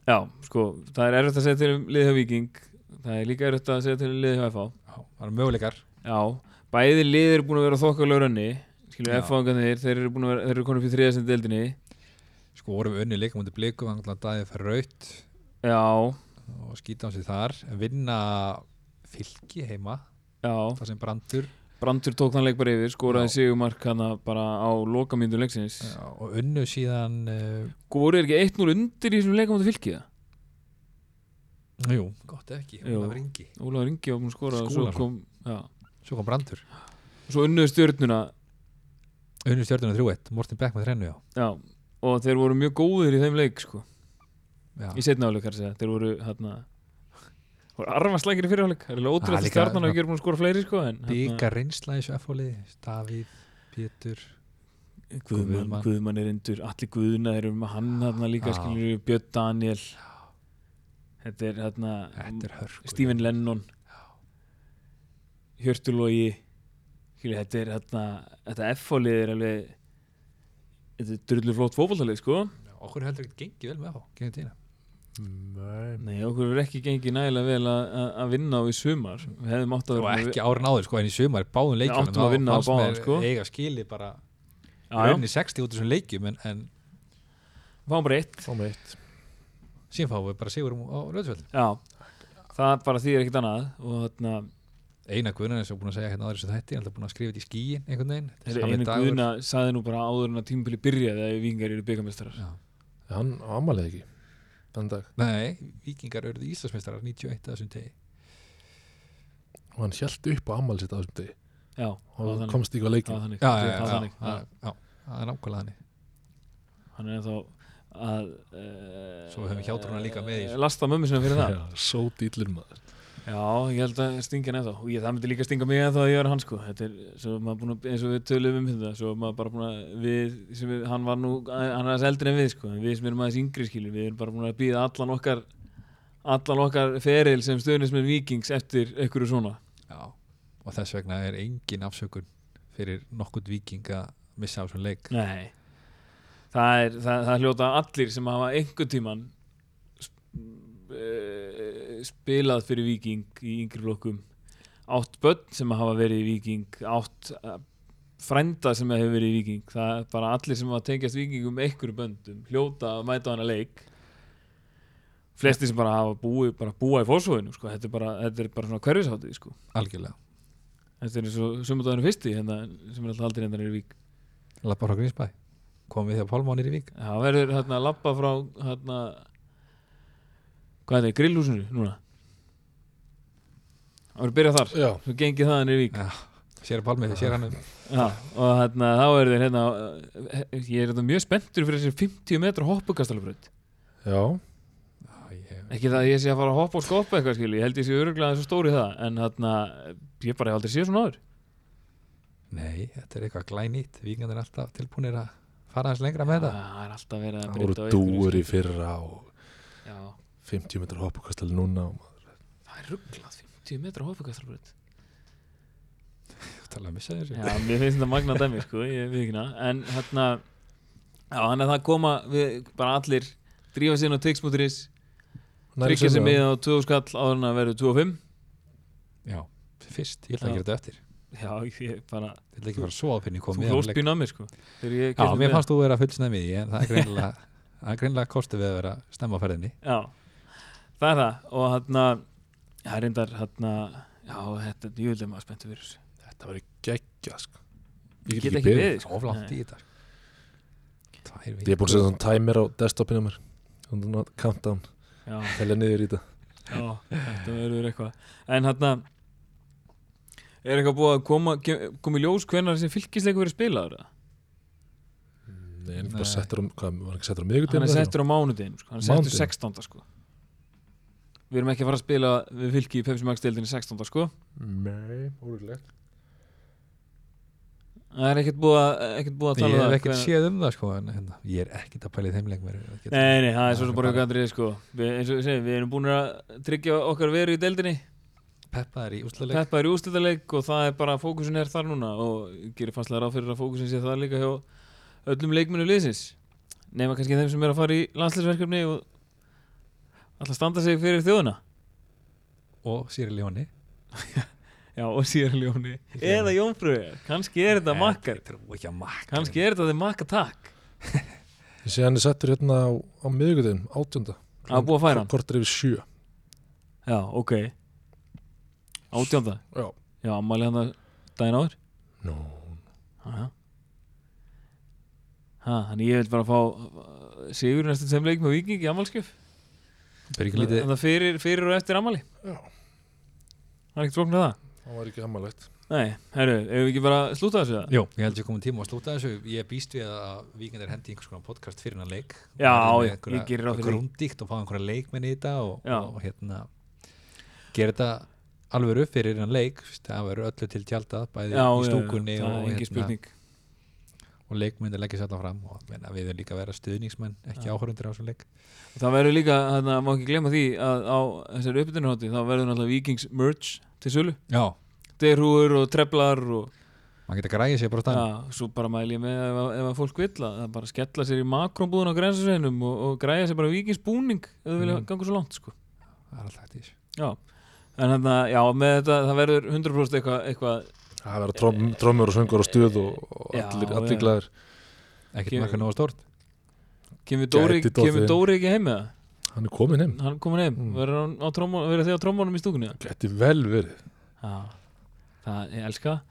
A: já, sko, það er erfitt að segja til um liðhjá Viking, það er líka erfitt að segja til um liðhjá FH.
B: já, það eru möguleikar
A: Já, bæði lið eru búin að vera þokkalega rönni, skilju
B: Já.
A: FH-angarnir, þeir eru búin að vera, þeir eru konum fyrir þriðasend deildinni.
B: Sko vorum við unni leikum undir blikum þannig að dagið fyrir raut
A: Já,
B: og skýta á sig þar en vinna fylki heima
A: já,
B: það sem brandur
A: Brandur tók þann leik bara yfir, skoraði
B: Já.
A: sigumark hana bara á lokamíndu leiksins.
B: já, eh, og unnu síðan uh,
A: Góru er ekki 1-0 undir í þessum leikamöndu fylkiða?
B: jú, gott ef ekki,
A: Jú.
B: hún var ringi
A: Ólafur Ingi var búinn að skora og svo
B: Skúlason.
A: kom, já,
B: Svo kom brandur
A: svo unnuðu stjörnuna
B: Unnu stjórnuna 3-1, Morten Beck með þrennu já.
A: já, og þeir voru mjög góðir í þeim leik sko,
B: Já.
A: í setna áleik kannski þeir voru hérna voru arfarslækir í fyrirháleik, það er alveg
B: Það er
A: ótrúlega
B: líka-
A: stjarnan að ekki er búin að skora fleiri sko en
B: Bíka reynsla í þessu F-fólið Davíð, Pétur
A: Guðmann,
B: Guðmann.
A: Guðmann er endur, allir Guðna þeir eru með hann hérna líka
B: Já.
A: skilur Björn Daniel þetta er hérna
B: Þetta er hörku
A: Stephen Lennon Hjörtulogi Skilji, þetta er hérna þetta F-fólið er alveg þetta er drullu flott fótboltalið sko
B: Okkur heldur ekki gengið vel með þá Gengið tína
C: Nei
A: Nei, okkur er ekki gengið nægilega vel að- að að vinna á í sumar við hefðum átt að
B: Og
A: vera
B: ekki árin áður sko En í sumar báðum leikjum
A: áttum að vinna á báðum, sko.
B: Eiga skili bara
A: Já, já,
B: Rauninni 60 út úr þessum leikjum En, en
A: fáum bara eitt
C: Fá með eitt
B: síðan fáum við bara sigur um á löðsvöld
A: Já, það bara þýðir ekkert annað og þarna
B: Einar Guðna eins og búin að segja hérna aðeins sem þetta, ég er alltaf búin að skrifa þetta í skíin einhvern veginn, Þetta er
A: Þessi
B: sami
A: einu
B: dagur.
A: guðna saði nú bara áður en að tímpili byrjaði að vikingar eru byggamestrar.
B: Já.
C: Hann ámalið ekki Þann dag
B: Nei, vikingar urðu Íslandsmeistarar 91 að þessum tegi
C: Og hann hjælt upp á ámalið sitt á þessum degi
A: Já,
C: Og
A: það var þannig.
C: komst ekki á
A: Það
C: leikin
A: var þannig.
B: Já,
A: Það
B: já, já,
A: var
B: já,
A: þannig,
B: já, já, það er nákvæmlega þannig
A: Hann er ennþá að... Uh,
B: Svo höfum við hjátrúna líka með í þessu.
A: Lasta mömmu sinna fyrir það.
C: Svo dýllur maður
A: Já, ég held að stingja hann ennþá. Og ég, það myndi líka stinga mig ennþá að ég er hann sko. Þetta er, svo maður búin að, eins og við tölum um þetta, svo maður bara búin að, við, sem við, hann var nú, hann er aðeins eldri en við sko, en við sem erum aðeins yngri skilur, við erum bara búin að býða allan okkar, allan okkar feril sem stöðnismenn vikings eftir einhverju svona.
B: Já, og þess vegna er engin afsökun fyrir nokkurt viking að missa af svona leik
A: Nei Það er, það, það er hljóta allir sem hafa einhvern tíman eh, spilað fyrir Víking í yngri flokkum átt börn sem hafa verið í Víking átt eh, frænda sem hefur verið í Víking það er bara allir sem hafa tengjast Víkingum einhverju böndum hljóta að mæta á hana leik flesti sem bara hafa búið bara búa í fórsvöðinu sko. þetta, er bara- þetta er bara svona hverfisháttið sko.
B: Algjörlega,
A: þetta er eins og sumundagurinn fyrsti hérna, sem er alltaf aldrei hendan er í Vík
B: lappa frá Grímsbæ komum við þegar Pálmánir í vik
A: Það verður hérna að lappa frá hérna hvað er þetta, grillhúsinu núna Það verður byrjað þar
C: Já,
A: svo gengið það nýr vík
B: Já, sér Pálmi,
A: Ah.
B: sér hann um
A: Já, og hérna þá er þeir hérna eh, ég er þetta mjög spenntur fyrir þessi 50 metra hoppukastalbröð
C: já,
B: Já, ég-
A: ekki það að ég sé að fara að hoppa og skoppa eitthvað skilu ég held ég sé öruglega þessu stóri það en hérna ég bara hef aldrei séð svona áður
B: Nei, þetta er eitthvað glænýtt Víkingarnir er alltaf tilbúinir að fara aðeins lengra með þetta
A: Það er alltaf verið að
C: það
A: breyta á
C: voru
A: einhverju,
C: dúur í
A: sko.
C: fyrra og
A: Já,
C: 50 metrar hoppukastal núna og maður-
A: það er rugglað 50 metra hoppukastalbröð
B: Þú talaði að missa þessu
A: Já, mér finnst þetta magna dæmi, sko, ég við ekki En hérna, já, þannig að það koma við bara allir drífa sér inn á teiksmúturis,
C: Nær í
A: tryggja sér
C: sömu,
A: miða á 2 skall áður en að verður 2 og 5
B: Já, fyrst, ég ætla að
A: Já.
B: gera þetta eftir
A: Já, ég bara,
B: Ég ætla ekki að fara að sofa fyrir ég kom
A: þú
B: með á
A: hlóst
B: leik.
A: býna að mér, sko Þegar ég
B: Já,
A: keypti
B: mér
A: miða.
B: fannst þú vera fullsnæmi í því, en það er greinlega það er greinlega kostið við að vera stemma á ferðinni
A: Já, það er það Og hérna, það er reyndar, hérna Já, þetta, ég vil maður spenntu fyrir þessu
C: Þetta verið geggja sko. Ég
A: Get ekki beðið, sko.
B: Oflant
A: Nei.
B: í þetta Tvær
C: Ég er búin að setja svona timer á desktopinu mér Þannig að countdown,
A: Já,
C: telja niður í þetta
A: já, þetta verður eitthvað En hérna Er eitthvað búið að koma, koma í ljós hvenær þessi fylgisleikur verið spilaður? eða?
C: Nei, hann er bara
B: Nei.
C: settur á, hvað, var hann ekki settur á
A: hann
C: miðvikudaginn?
A: er settur á mánudeginu sko. hann er settur
C: Mánudaginn?
A: 16. sko við erum ekki að fara að spila við fylki í Pepsi Max deildinni 16. sko
C: Nei, úrlegt
A: það er ekkert búið að, ekkert búið að
B: Ég
A: tala um
B: hef
A: það
B: ekkert
A: hvenær-
B: séð um það sko en hérna, ég er ekkert að pæla í þeim leik mér er ekkert-
A: nei, nei, það er svo
B: Það
A: sem
B: er
A: bara
B: bara-
A: eitthvað andrið sko við, eins og við segjum, við erum búin að tryggja okkar veru í deildinni
B: Peppa er í úsluleik
A: Peppa er í ústildarleik og það er bara fókusin er þar núna og gerir fannslega ráð fyrir að fókusin sé það líka hjá öllum leikmennu liðsins nema kannski þeim sem er að fara í landsleisverkefni og alltaf standa sig fyrir þjóðuna
B: og Sýri Ljóni
A: Já, og Sierra Leone Eða Jónfröðar, kannski er þetta makkar
B: Eh, Ég trúi ekki að makkar
A: Kannski er þetta þeim makka takk
C: Ég sé hann er settur hérna á, á miðvikudaginn, áttjönda
A: Á, búið að færa hann.
C: Kortur yfir sjö
A: Já, ok Átjánda
C: Já
A: Já, ammali hann að daginn áður
C: Nú,
A: Aha. Ha, þannig ég vil bara fá uh, Sigur í næstum sem leik með Viking í ammalskjöf
B: Fyrir ekki lítið
A: Þannig að fyrir, fyrir og eftir ammali
C: Já.
A: Það er ekkert flóknir það
C: það var ekki hammalegt
A: Nei, herru, ef við ekki bara slúta þessu það
B: Jó, ég held ég komum tíma að slúta þessu Ég býst við að vikendir hendi einhvers konar podcast fyrir hennar leik
A: Já,
B: Og verði með
A: ég- ég geri ráð fyrir því.
B: Grúndíkt og fá einhverja leikmenn í þetta og,
A: Já.
B: og hérna gera þetta alveg upp fyrir hennar leik þú veist, það verður öllu til tjaldað bæði í stúkunni
A: það
B: og, hérna,
A: er engin spurning
B: og leikmyndir leggja sér allan fram og menna, við erum líka að vera stuðningsmenn ekki
A: Já.
B: áhörundir á þessum leik
A: Og Það verður líka, þannig má ekki glemma því að á þessari uppbytunarhátti þá verður náttúrulega Vikings merch til sölu
B: Já,
A: derhúur og treflar og
B: maður getur græðið sér bara á staðnum
A: ja, svo bara mæli ég með ef, að- ef að fólk vill að það bara skella sér í makrónbúðun á grænsasveinum og, og græja sér bara Vikings búning ef þau vilja
B: Mm.
A: ganga svo langt sko.
B: Það er alltaf hægt í þessu
A: Já, en þannig að já, með þetta það verður 100% eitthvað eitthva,
C: Það verða trom, trommur og söngur og stuð og, og
A: Eh. Já,
C: allir,
A: já.
C: allir glæðir
B: Ekkert
A: Kemur-
B: með eitthvað nóga stórt
A: kemur, Dóri,
C: Gæti dottið
A: kemur
C: inn.
A: Dóri ekki heim með það?
C: Hann er komin heim
A: Hann er komin heim,
C: Mm.
A: verður, hann á trommó- verður þið á trommónum í stúkunni? eða?
C: Gæti vel verið
A: Já, það ég elska það.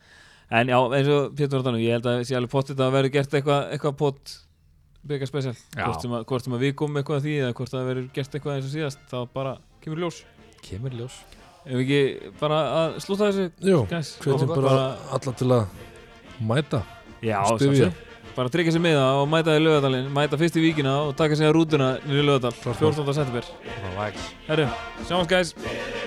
A: en já, eins og Pétur Ráttanu, ég held að sé alveg pottit að það verður gert eitthvað eitthvað pott byggja spesial,
B: Já.
A: hvort sem, að, hvort sem að við komum eitthvað að því eða hvort að það verður gert eitthvað eins og síðast þá bara kemur í ljós
B: Kemur ljós
A: ef ekki bara að slúta þessu
C: Jú,
A: guys,
C: hvetjum
A: áfram,
C: bara, alla til að mæta
A: já,
C: styðja.
A: sjálfsög bara tryggja sér miða og mæta í lögadalinn mæta fyrst í víkina og taka sér að rútuna niður í lögadal
C: Klart mál.
A: 14. september
B: Það var ekki
A: herru, sjáumst guys
C: Bye.